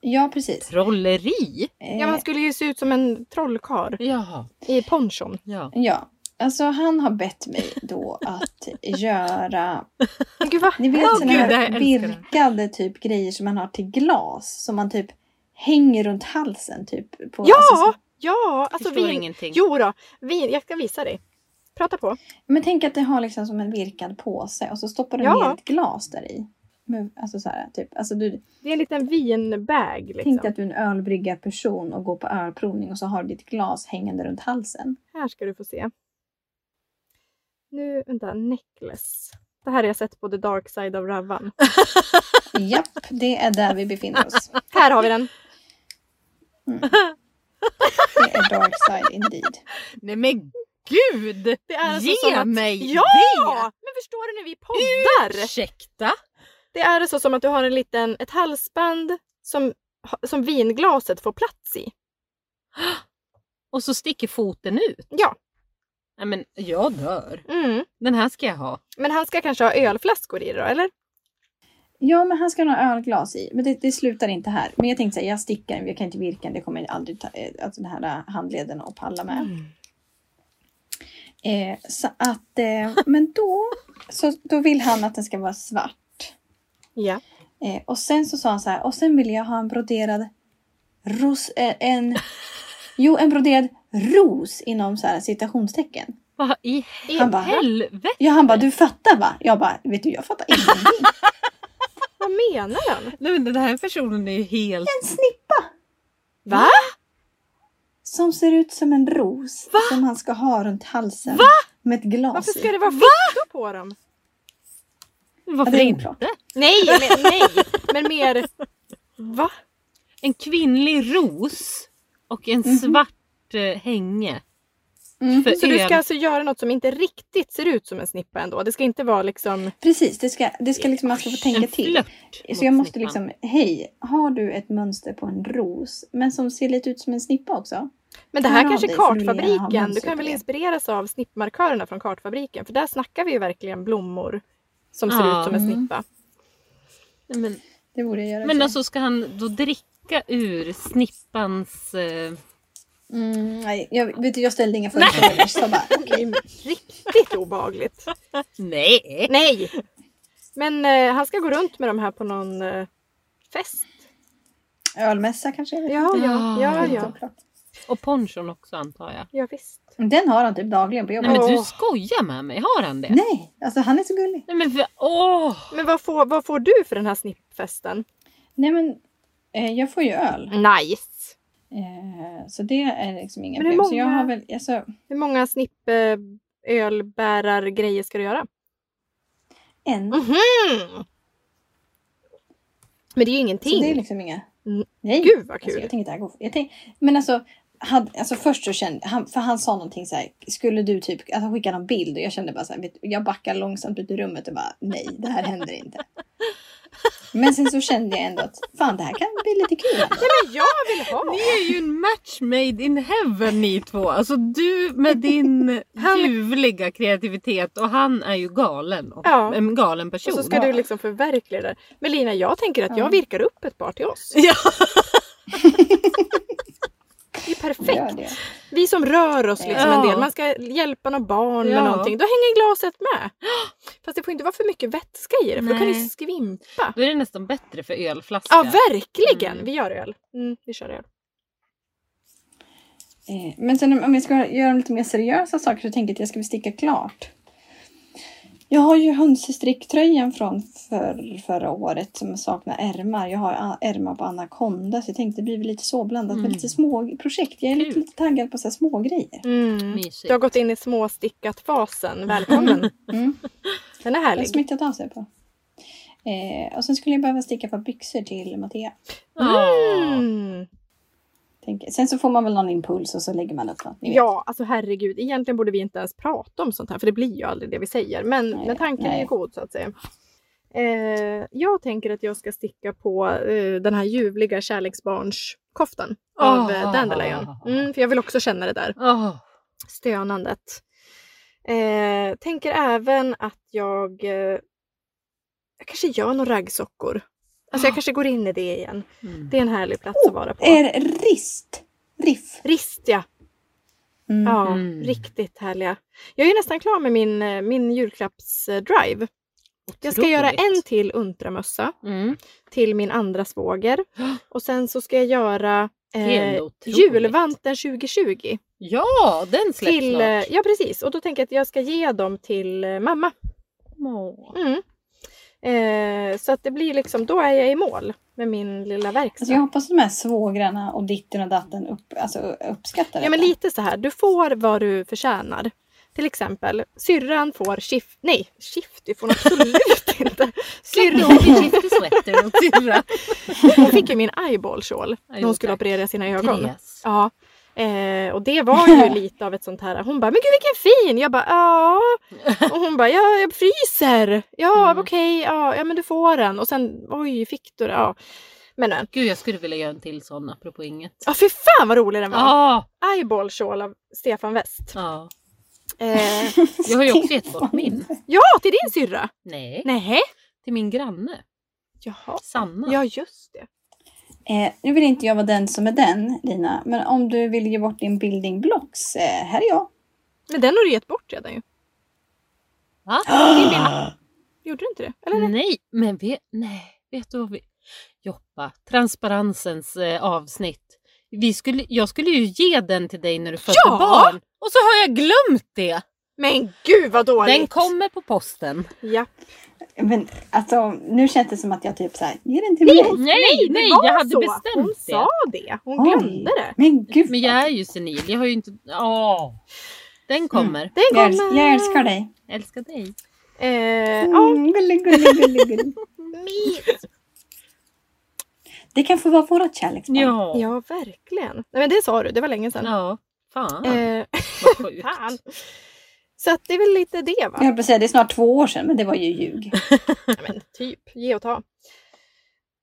ja, precis.
Trolleri?
Eh,
Ja, man skulle ju se ut som en trollkar
Ja,
i ponchon.
ja.
Ja, alltså han har bett mig då att göra,
Men Gud, va?
ni vet
Åh,
såna
gud, jag
här
älskar
virkade typ grejer som man har till glas som man typ hänger runt halsen typ. På, alltså,
Ja!
så-
Ja! Alltså
Förstår
vin...
ingenting.
Jo då, vin... Jag ska visa dig. Prata på.
men tänk att det har liksom som en virkad påse och så stoppar du
Ja.
ner ett glas där i. Men, Alltså så här, typ. Alltså du
Liksom.
Det är en liten vinbag liksom.
tänkte att du är en ölbryggarperson och går på ölprovning och så har du ditt glas hängande runt halsen.
Här ska du få se. Nu, vänta, necklace. Det här har jag sett på The Dark Side of Ravan.
Japp, det är där vi befinner oss.
här har vi den!
Det är dark side indeed.
Nej men gud!
Det är alltså
Ge
som att...
mig
ja!
det!
Men förstår du nu, vi poddar!
Ursäkta?
Det är alltså som att du har en liten, ett halsband som, som vinglaset får plats i.
Och så sticker foten ut?
Ja.
Nej men jag dör.
Mm.
Den här ska jag ha.
Men han ska kanske ha ölflaskor i det då, eller?
Ja, men han ska ha några ölglas i. Men det, det slutar inte här. Men jag tänkte säga, jag stickar, jag kan inte virka den. Det kommer jag aldrig ta, eh, alltså den här eh, handleden att palla
Mm.
med. Eh, så att, eh, men då, så, då vill han att den ska vara svart.
Ja.
Eh, och sen så sa han så här, och sen vill jag ha en broderad ros, eh, en, jo en broderad ros inom så här citationstecken.
Vad i
Han bara,
helvete?
Ja, han bara, du fattar va? Jag bara, vet du, jag fattar ingenting.
Vad menar han?
Nej men den här personen är ju helt...
En snippa
Va?
som ser ut som en ros
Va?
som han ska ha runt halsen. Med ett glas
Varför
i.
ska det vara fittor på dem?
Varför
det är
inte?
oklart.
Nej, men, nej, men mer... Va?
Mhm.
En kvinnlig ros och en svart stort eh, hänge.
Mm.
För
Så du ska
öl.
alltså göra något som inte riktigt ser ut som en snippa ändå? Det ska inte vara liksom...
Precis, det ska, det ska liksom, man ska få tänka
En
till.
flört
Så jag
mot
måste
snippan.
liksom, hej, har du ett mönster på en ros men som ser lite ut som en snippa också?
Men det
Hör
här
av
kanske är
dig så vill jag ha
kartfabriken. Du
mönster
kan
på
väl
det.
inspireras av snippmarkörerna från kartfabriken? För där snackar vi ju verkligen blommor som ser
Ja.
ut som en
Mm.
snippa.
Nej, Men,
Det borde jag göra.
men
så.
alltså ska han då dricka ur snippans... Eh,
mm, nej, jag, vet du, jag ställde inga följdfrågor. så bara,
Det är ju riktigt obehagligt.
nej!
Nej! Men eh, han ska gå runt med de här på någon eh, fest.
Ölmässa kanske? jag vet
Ja, ja, ja,
inte.
ja.
Och ponchon också antar jag.
Ja, visst.
Den har han typ dagligen på jobbet.
Nej men du
Åh.
skojar med mig, har han det?
Nej, alltså han är så gullig.
Nej men för, åh!
Men vad får, vad får du för den här snippfesten?
Nej men, eh, jag får ju öl.
Nice!
Eh, så det är liksom inga
Men hur
problem. Så jag
många-
har väl, alltså,
Hur många snipp eh, ölbärargrejer ska du göra?
en.
Mhm! Men det är ju
Så
ingenting.
det är liksom inga...
Mm.
Nej.
Gud vad
Alltså,
kul!
jag tänkte det här går... Jag tänk... Men alltså, han, alltså först så kände han, för han sa någonting så här, skulle du typ, alltså han skickade någon bild och jag kände bara så här, vet, jag backar långsamt ut i rummet och bara nej, det här händer inte. Men sen så kände jag ändå att fan det här kan bli lite kul. ändå.
Nej men jag vill ha!
Ni är ju en match made in heaven ni två. Alltså du med din
Han-
ljuvliga kreativitet och han är ju galen. Och,
Ja.
En galen person.
Och så ska du liksom förverkliga det. Men Lina, jag tänker att
Ja.
jag virkar upp ett par till oss.
Ja.
Det är
Gör
perfekt.
det.
Vi som rör oss liksom en
Ja.
del. Man ska hjälpa något barn
Ja.
med någonting. Då hänger glaset med. Fast det får inte vara för mycket vätska i det för då kan det
Nej.
skvimpa.
Då är det nästan bättre för ölflaska.
Ja, verkligen!
Mm.
Vi gör öl. Mm, vi kör öl.
Eh, Men sen om- om jag ska göra lite mer seriösa saker så tänker jag att jag ska sticka klart. Jag har ju hönsestricktröjan från för, förra året som saknar ärmar. Jag har a- ärmar på Anaconda så jag tänkte det blir väl lite så blandat med
Mm.
lite små projekt. Jag är lite,
Kul.
lite taggad på så här små grejer.
Mm.
Mysigt.
Du har gått in i småstickat-fasen. Välkommen! Den
Mm.
är
Det har
härlig.
smittat av sig på. Eh, och sen skulle jag behöva sticka ett par byxor till Mattia.
Ja.
Mm.
tänker jag. Sen så får man väl någon impuls och så lägger man upp något. ni vet.
Ja, alltså herregud. Egentligen borde vi inte ens prata om sånt här, för det blir ju aldrig det vi säger. Men,
Nej,
men tanken är
nej.
ju god, så att säga. Eh, jag tänker att jag ska sticka på eh, den här ljuvliga kärleksbarnskoftan av eh,
Ah.
Dandelion. Mm, för jag vill också känna det där
Åh.
stönandet. Eh, tänker även att jag, eh, jag kanske gör några raggsockor. Alltså
Ah.
jag kanske går in i det igen.
Mm.
Det är en härlig plats att vara på.
Är det rist? Riff?
Rist ja!
Mm.
Ja,
Mm.
riktigt härliga. Jag är nästan klar med min, eh, min julklappsdrive. Jag ska göra en
Otroligt.
till untramössa
Mm.
till min andra svåger. Och sen så ska jag göra
Helt
eh,
otroligt.
julvanten 2020.
Ja, den släpps
Till, eh,
snart.
ja precis, och då tänker jag att jag ska ge dem till eh, mamma.
Åh.
Mm. Eh, så att det blir liksom, då är jag i mål med min lilla verkstad.
Alltså jag hoppas att de här svågrarna och ditten och datten upp, alltså, uppskattar
Ja men
detta.
lite så här, du får vad du förtjänar. Till exempel, syrran får shift, nej shifty får hon absolut inte.
Syrran
Syrran,
i shifty sweater och syrra.
hon fick ju min eyeball shawl när
jo,
hon skulle
tack.
operera sina ögon.
Therese.
Ja. Eh, och det var ju lite av ett sånt här, hon bara, men gud vilken fin! Jag bara, ja. Och hon bara, ja jag fryser. Ja
Mm.
okej, ja, ja men du får den. Och sen, oj fick du det? Ja. Men men,
Gud, jag skulle vilja göra en till sån apropå inget.
ja fy fan vad rolig den var!
Ja.
Eyeball shawl av Stefan West.
ja.
Eh,
Jag har ju också gett bort min.
ja, till din syrra!
Nej.
Nej.
till min granne.
Jaha.
Sanna.
Ja, just det.
Eh, nu vill inte jag vara den som är den, Lina. Men om du vill ge bort din building blocks, eh, här är jag.
Men den har du gett bort redan ju.
Va?
Gjorde du inte det? Eller? nej?
Nej, men vi, nej, vet du vad vi... Joppa, transparensens eh, avsnitt. Vi skulle, jag skulle ju ge den till dig när du födde
Ja!
barn. Och så har jag glömt det!
Men gud vad dåligt!
Den kommer på posten.
Ja.
Men alltså, nu känns det som att jag typ så här, ge den till
Nej,
mig.
nej,
det
nej,
var
jag hade
så. Hon
bestämt det.
sa det. Hon
Oj,
glömde det.
Men gud
Men
vad-
jag är ju senil, jag har ju inte... Åh!
Mm.
Den kommer.
Den
jag,
kommer.
äls- jag älskar dig.
Älskar dig.
Eh, ja,
Mm, gullig, gullig, gullig, gullig. Det kan få vara vårat kärleksbarn.
Ja.
ja, verkligen. Nej, men det sa du. Det var länge sedan.
ja. Fan
Eh,
vad sjukt.
fan. Så att det är väl lite det va?
Jag höll på att säga, det är snart två år sedan, men det var ju ljug.
Ja, men typ, ge och ta.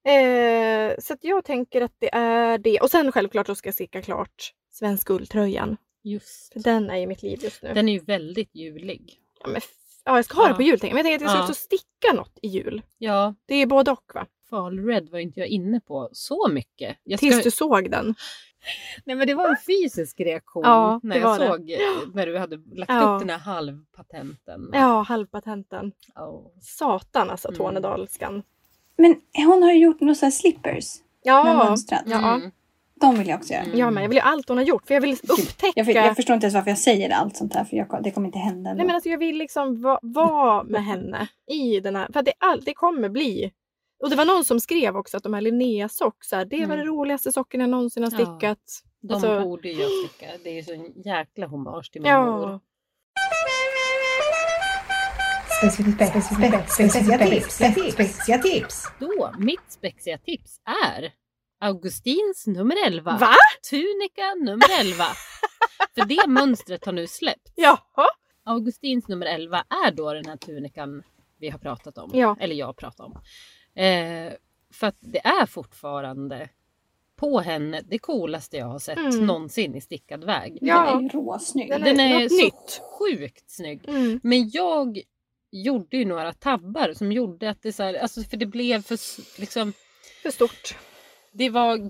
Eh, så att jag tänker att det är det. Och sen självklart så ska jag sticka klart Svensk ulltröjan.
Just.
För den är i mitt liv just nu.
Den är ju väldigt julig.
Ja, men, f- ja, jag ska ha det
Ja.
på jul tänker jag. Men jag tänker att jag ska
Ja.
också sticka något i jul.
Ja,
Det är både och va?
Falred var inte jag inne på så mycket. Jag ska...
Tills du såg den.
Nej men det var en fysisk reaktion
Ja,
när
det
jag
var det.
såg eh, när du hade lagt
Ja.
upp den här halvpatenten. Oh.
Ja, halvpatenten.
Ja.
Satan alltså,
Mm.
tornedalskan.
Men hon har ju gjort några så här slippers med
Ja,
mönstrat.
Ja.
Mm.
De vill jag också göra.
Mm.
jag med. Jag vill ju allt hon har gjort. För jag vill upptäcka.
Jag, för, jag förstår inte ens varför jag säger allt sånt här, för jag, det kommer inte hända ändå.
Nej men alltså jag vill liksom va- vara med henne i den här. För att det, all, det kommer bli. Och det var någon som skrev också att de här Linnea-sock, så här, det var
Mm.
det roligaste socken jag någonsin har
Ja.
stickat.
De
Alltså-
borde ju jag sticka. Det är ju så en jäkla hommage till min mor.
Ja.
Specifica tips, specifica tips.
Då, mitt spexiga tips är Augustins nummer 11.
Va?
Tunika nummer 11. För det mönstret har nu släppt.
Jaha!
Augustins nummer 11 är då den här tunikan vi har pratat om.
Ja.
Eller jag har pratat om. Eh, för att det är fortfarande på henne det coolaste jag har sett
Mm.
någonsin i stickad väg.
Den är
Ja.
ju råsnygg.
Den
Den är
något
så
nytt.
sjukt snygg.
Mm.
Men jag gjorde ju några tabbar som gjorde att det så här, alltså för det blev för s- liksom
För stort.
det var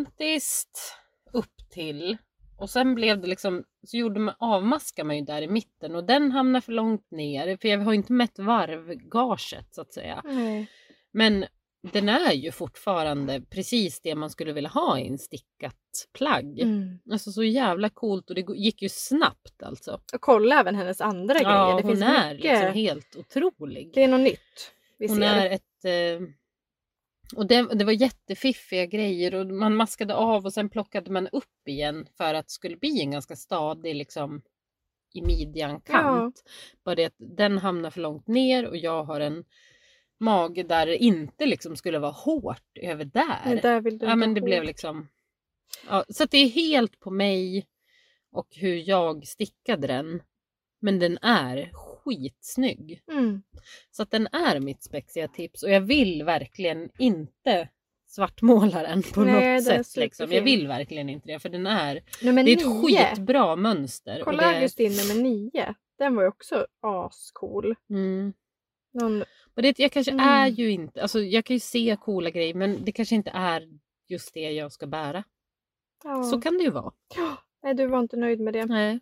gigantiskt upp till och sen blev det liksom så gjorde man avmaskar man ju där i mitten och den hamnar för långt ner för jag har ju inte mätt varvgaget så att säga.
Nej.
Men den är ju fortfarande precis det man skulle vilja ha i en stickat plagg.
Mm.
Alltså så jävla coolt och det gick ju snabbt alltså.
Och kolla även hennes andra
Ja,
grejer. Det
hon
finns
är
mycket.
liksom helt otrolig.
Det är något nytt. Vi
Hon
ser.
är ett... Eh, och det, det var jättefiffiga grejer och man maskade av och sen plockade man upp igen för att det skulle bli en ganska stadig liksom i midjan kant. Bara det att den hamnar för långt ner och jag har en mage där det inte liksom skulle vara hårt över där.
Men där vill du
ja
inte
men det
ha.
blev liksom... Ja, så att det är helt på mig och hur jag stickade den. Men den är skitsnygg.
Mm.
Så att den är mitt spexiga tips och jag vill verkligen inte svartmåla den på
Nej,
något
den är
sätt. Liksom. Jag
superfin.
vill verkligen inte det för den är,
Nummer
det är ett
nio.
skitbra mönster. och
Kolla
det,
Augustin nummer nio. Den var ju också ascool.
mm.
Någon...
och det, jag kanske
Mm.
är ju inte, alltså jag kan ju se coola grejer men det kanske inte är just det jag ska bära.
Ja.
Så kan det ju vara.
Nej, du var inte nöjd med det.
Nej.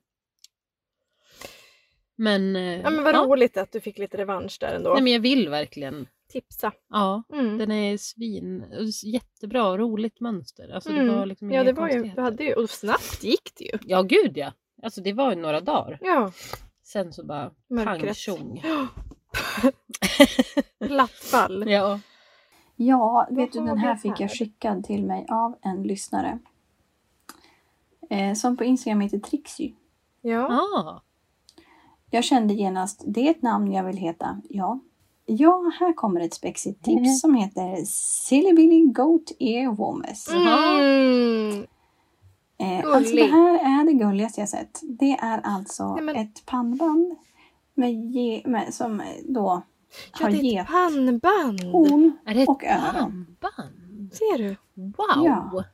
Men, eh,
Ja, men vad roligt att du fick lite revansch där ändå.
Nej, men jag vill verkligen.
Tipsa.
Ja,
Mm.
den är svin, jättebra, roligt mönster. Alltså, det
Mm.
var liksom
ja,
inga
det var ju,
konstigheter.
du hade ju, och snabbt gick det ju.
Ja, gud ja. Alltså det var ju några dagar.
Ja,
Sen så bara pang
mörkret.
tjong.
Plattfall.
Ja.
Ja, vet du
har
den
vi
här fick jag
här?
skickad till mig av en lyssnare. Eh, som på Instagram heter Trixie.
Ja.
Ah.
Jag kände genast, det är ett namn jag vill heta. Ja, ja här kommer ett spexigt tips
Mm.
som heter Silly Billy Goat Ear Warmers.
Mm.
Eh, alltså det
Gullig.
här är det gulligaste jag sett. Det är alltså
Nej, men-
ett pannband med ge, med, som då
Ja,
har
det är
gett
ett pannband.
horn
Är det ett
och öron.
pannband?
Ser du?
Wow!
Ja.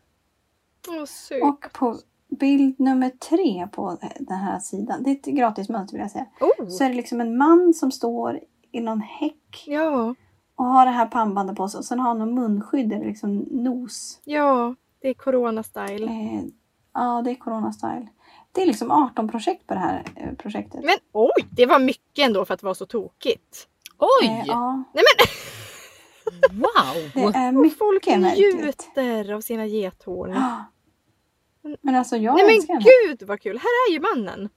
Åh, sug.
Och på bild nummer tre på den här sidan, det är ett gratis mönster vill jag säga, så
Oh.
är det liksom en man som står i någon häck
Ja,
och har det här pannbandet på sig och sen har han någon munskydd eller liksom nos.
ja. Det är corona-style.
Eh, ja, det är Corona-style. Det är liksom 18 projekt på det här eh, projektet.
Men oj, det var mycket ändå för att vara så tokigt.
Eh,
Oj!
ja, det
Wow!
är
Och folk
mycket märkligt.
njuter av sina gethorn.
Ah. Men alltså jag
Nej
älskar
men
den här.
gud vad kul! Här är ju mannen.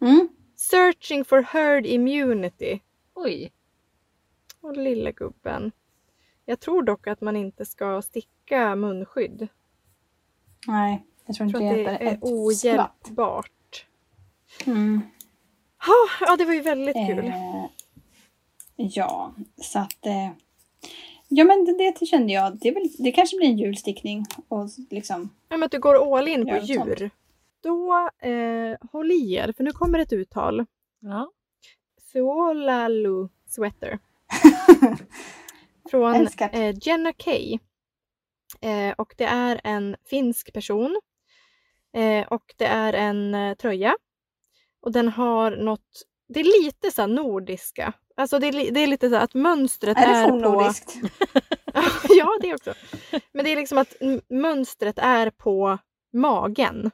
Mm.
Searching for herd immunity.
Oj!
Och lilla gubben. Jag tror dock att man inte ska sticka munskydd.
Nej, jag
Jag
tror inte
tror att det är
ett skvatt.
ohjälpbart.
Mm.
Ha, ja, det var ju väldigt kul.
Eh, ja, så att... Eh, ja, men det, det kände jag. Det, är väl, det kanske blir en julstickning. Och liksom,
Ja, men att du går all in på
Ja, det är sant.
djur. då eh, håll i er för nu kommer ett uttal.
Ja.
Suolalu Sweater. Från
Älskar.
eh, Jenna Kay. Eh, och det är en finsk person. Eh, och det är en eh, tröja. Och den har något, det är lite så här nordiska. Alltså det är, li- det är lite så här att mönstret
Är det
eh, är, på...
fornnordiskt?
ja, det också. Men det är liksom att m- mönstret är på magen.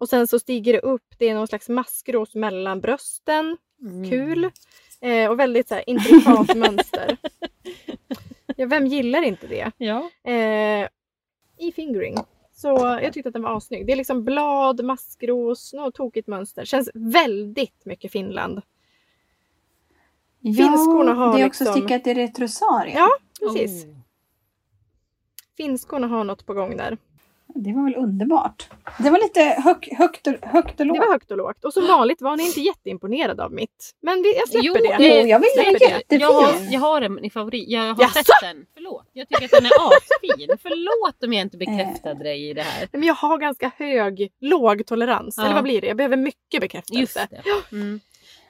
Och sen så stiger det upp, det är någon slags maskros mellan brösten
Mm.
kul
Mm.
eh, och väldigt så här, intrikat mönster. Ja, vem gillar inte det?
Ja.
Eh, I fingering. Så jag tyckte att den var assnygg. Det är liksom blad, maskros, något tokigt mönster. Känns väldigt mycket Finland. Finskorna har
det är också
liksom-
stickat i retrosarie.
Ja. Precis.
Oh.
Finskorna har något på gång där.
Det var väl underbart. Det var lite hög, högt, och- högt och lågt.
Det var högt och lågt. Och som vanligt var ni inte jätteimponerade av mitt. Men vi, jag
Jo, eh,
släpper det.
Jo, jag vill
släpper
den är
det.
jättefin.
Jag har, jag har en i favorit. Jag har
Jaså?
sett den. Förlåt. Jag tycker att den är asfin. Förlåt om jag
Eh.
inte bekräftade dig i det här.
Men jag har ganska hög, låg tolerans.
Ja.
Eller vad blir det? Jag behöver mycket
Just
bekräftelse.
det. Mm.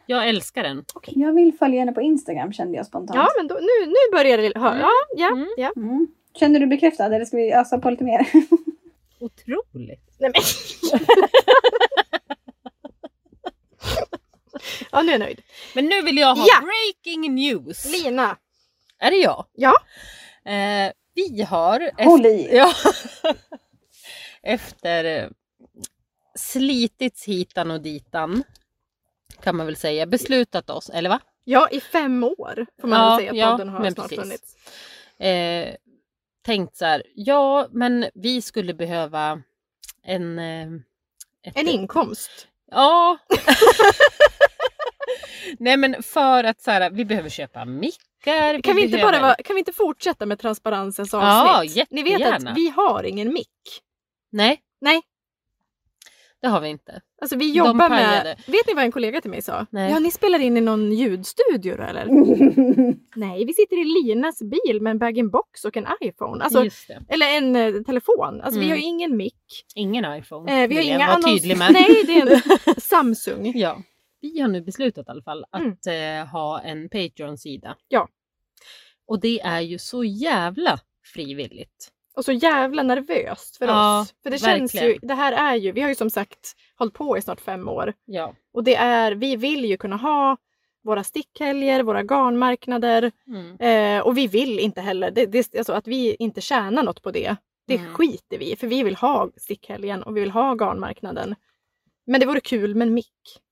Jag älskar den.
Jag vill följa henne på Instagram kände jag spontant.
Ja, men då, nu, nu börjar det... hö- Ja, ja,
Mm.
ja.
Mm. Känner du bekräftad eller ska vi ösa på lite mer?
Otroligt.
Nej men. ja, nu är jag nöjd.
Men nu vill jag ha
Ja.
breaking news.
Lina.
Är det jag?
Ja.
Eh, vi har...
Håll i!
Ja. Efter eh, slitits hitan och ditan kan man väl säga, beslutat oss, eller va?
Ja, i fem år får man
Ja,
väl säga att
ja,
podden har
men
snart
precis.
funnits.
Eh, tänkt så här, ja men vi skulle behöva en... Eh, ett-
En inkomst.
Ja. Nej men för att så här, vi behöver köpa mickar.
Kan vi, inte bara
behöver-
vara, kan vi inte fortsätta med transparensens
Ja,
avsnitt? Ni vet
jättegärna.
att vi har ingen mick.
Nej.
Nej.
Det har vi inte.
Alltså vi
De
jobbar med...
pajade.
Vet ni vad en kollega till mig sa?
Nej.
Ja, ni spelar in i någon ljudstudio då eller? Nej, vi sitter i Linas bil med en bag-in-box och en iPhone. Alltså,
Just det.
eller en eh, telefon. Alltså vi
Mm.
har ju ingen mick.
Ingen iPhone.
Eh, vi har
vill jag
inga
vara
annons...
tydlig med.
Nej, det är en Samsung.
Ja. Vi har nu beslutat i alla fall
Mm.
att eh, ha en Patreon-sida.
Ja.
Och det är ju så jävla frivilligt.
Och så jävla nervöst för
Ja,
oss. För det känns ju,
verkligen.
det här är ju, vi har ju som sagt hållit på i snart fem år.
Ja.
Och det är, vi vill ju kunna ha våra stickhelger, våra garnmarknader.
Mm.
Eh, och vi vill inte heller, det, det, alltså att vi inte tjänar något på det, det
Mm.
skiter vi i, För vi vill ha stickhelgen och vi vill ha garnmarknaden. Men det vore kul med en mick.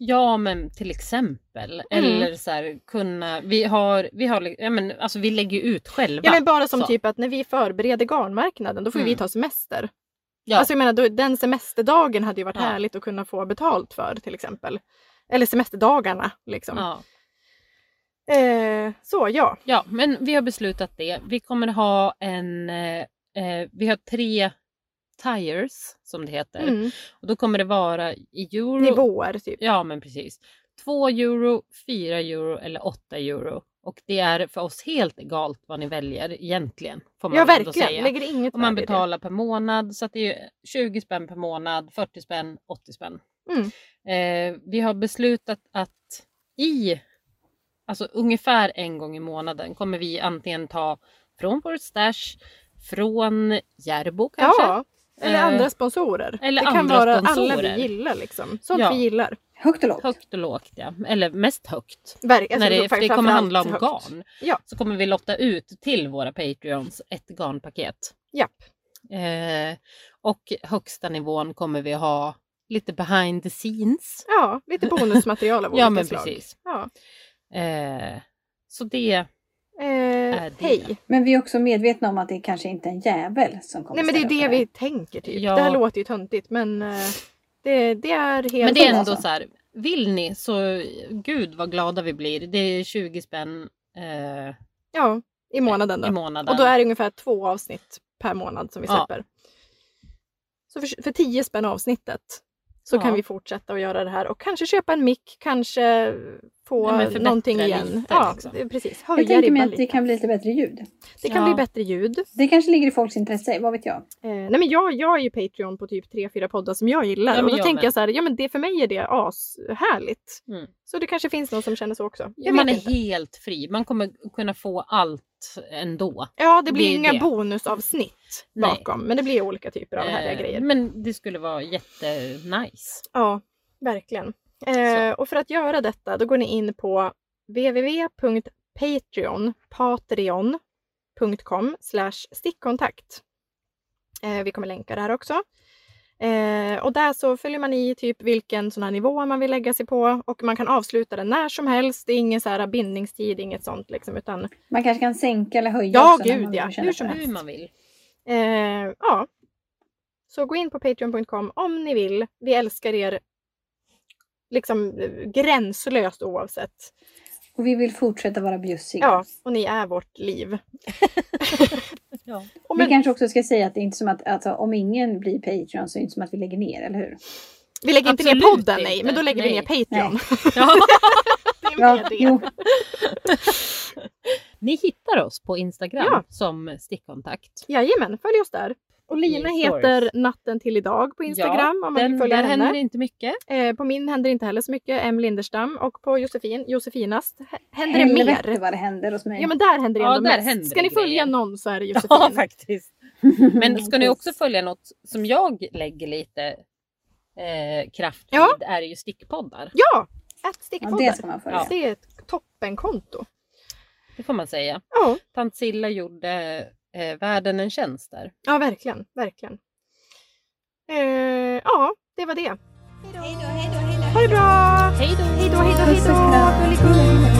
Ja men till exempel.
Mm.
Eller så här kunna, vi har, vi har, li- ja, men, alltså vi lägger ju ut själva.
Ja, men bara som
Så.
typ att när vi förbereder garnmarknaden då får ju vi
Mm.
ta semester.
Ja.
Alltså jag menar, då, den semesterdagen hade ju varit
Ja.
härligt att kunna få betalt för till exempel. Eller semesterdagarna liksom.
Ja.
Eh, så ja.
ja men vi har beslutat det. Vi kommer ha en, eh, eh, vi har tre tires som det heter.
Mm.
Och då kommer det vara i euro.
Nivåer typ.
Ja men precis. 2 euro, 4 euro eller 8 euro. Och det är för oss helt egalt vad ni väljer egentligen. Får man
Ja
väl ändå
verkligen,
säga.
lägger inget
Om man
värde i det.
betalar per månad så att det är 20 spänn per månad, 40 spänn, 80 spänn.
Mm.
Eh, vi har beslutat att i, alltså ungefär en gång i månaden kommer vi antingen ta från vår stash, från Järbo kanske.
Ja, eller
Eh,
andra sponsorer.
eller
det kan
andra
vara alla
sponsorer.
vi gillar liksom. Sånt
Ja.
vi gillar.
Högt och lågt.
Högt och lågt ja, eller mest högt.
Verk, alltså,
När det,
faktiskt
för det kommer
framförallt
handla om
högt.
garn.
Ja.
Så kommer vi lotta ut till våra Patreons ett garnpaket.
Japp.
Eh, och högsta nivån kommer vi ha lite behind the scenes.
Ja, lite bonusmaterial av olika
Ja men
slag.
precis.
Ja.
Eh, så det,
Eh,
det.
hej!
Men vi är också medvetna om att det kanske inte är en jävel som kommer
Nej men det är
ställa upp
det
på
vi tänker typ.
Ja.
Det här låter ju töntigt men eh, det, det är helt...
men det är ändå
alltså.
så här, vill ni så gud vad glada vi blir. Det är 20 spänn eh,
Ja, i månaden då.
i månaden.
Och då är det ungefär två avsnitt per månad som vi
Ja.
släpper. Så för, för 10 spänn avsnittet Så
Ja.
kan vi fortsätta att göra det här och kanske köpa en mick, kanske få
Ja, men förbättra
någonting
lite,
igen.
liksom.
det- precis.
Jag
Höja
tänker mig
ribban
att det
lite.
kan bli lite bättre ljud.
Det kan
Ja.
bli bättre ljud.
Det kanske ligger i folks intresse, vad vet jag.
Eh, nej men jag, jag är ju Patreon på typ tre fyra poddar som jag gillar
Ja, men
och då
jag
tänker
med.
jag så här, ja men det för mig är det ashärligt.
Mm.
Så det kanske finns någon som känner så också. Jag
Man är
vet inte.
helt fri. Man kommer kunna få allt ändå.
Ja, det blir
det är
inga
det.
bonusavsnitt
Nej.
bakom, men det blir olika typer av härliga
Eh,
grejer.
Men det skulle vara jättenice.
Ja, verkligen. Eh, och för att göra detta då går ni in på www.patreon, patreon.com slash stickkontakt. Eh, vi kommer länka det här också. Eh, och där så följer man i typ vilken sån här nivå man vill lägga sig på och man kan avsluta den när som helst. Det är ingen så här bindningstid, inget sånt liksom utan
Man kanske kan sänka eller höja
Ja,
också när
gud,
man
ja.
känner
Hur
för
som
det.
helst.
Hur man vill.
Eh, ja. Så gå in på patreon.com om ni vill. Vi älskar er liksom eh, gränslöst oavsett.
Och vi vill fortsätta vara bjussiga.
Ja, och ni är vårt liv.
Ja.
Och
Vi
men,
kanske också ska säga att det är inte som att alltså, om ingen blir Patreon så är det inte som att vi lägger ner, eller hur?
vi lägger inte ner
Absolut
podden, nej,
inte.
men då lägger vi
Nej.
ner Patreon.
Ja.
det är mer det.
jo.
Ni hittar oss på Instagram
Ja.
som stickkontakt.
Jajamän, följ oss där. Och Lina
I
heter
stories.
Natten till idag på Instagram om man
Den,
vill följa
där händer
henne.
det inte mycket.
Eh, på min händer inte heller så mycket, M Linderstam. Och på Josefin, Josefinast, hä- händer det mer.
Helvete vad det händer hos mig.
Ja men där händer det
Ja,
ändå
där händer
mest.
det
Ska ni följa
grejer.
någon så är det Josefin.
Ja faktiskt.
Mm,
Men ska ni också följa något som jag lägger lite eh, kraft vid
Ja.
är ju stickpoddar.
Ja! Att
ja,
stickpoddar.
det ska man följa.
Ja.
Det är ett toppenkonto.
Det får man säga.
Ja,
Tant Silla gjorde eh, världen en tjänst där.
ja verkligen, verkligen. Eh, ja, det var det. Ha det bra! Hej då, hej då, hej då! Gulligullig.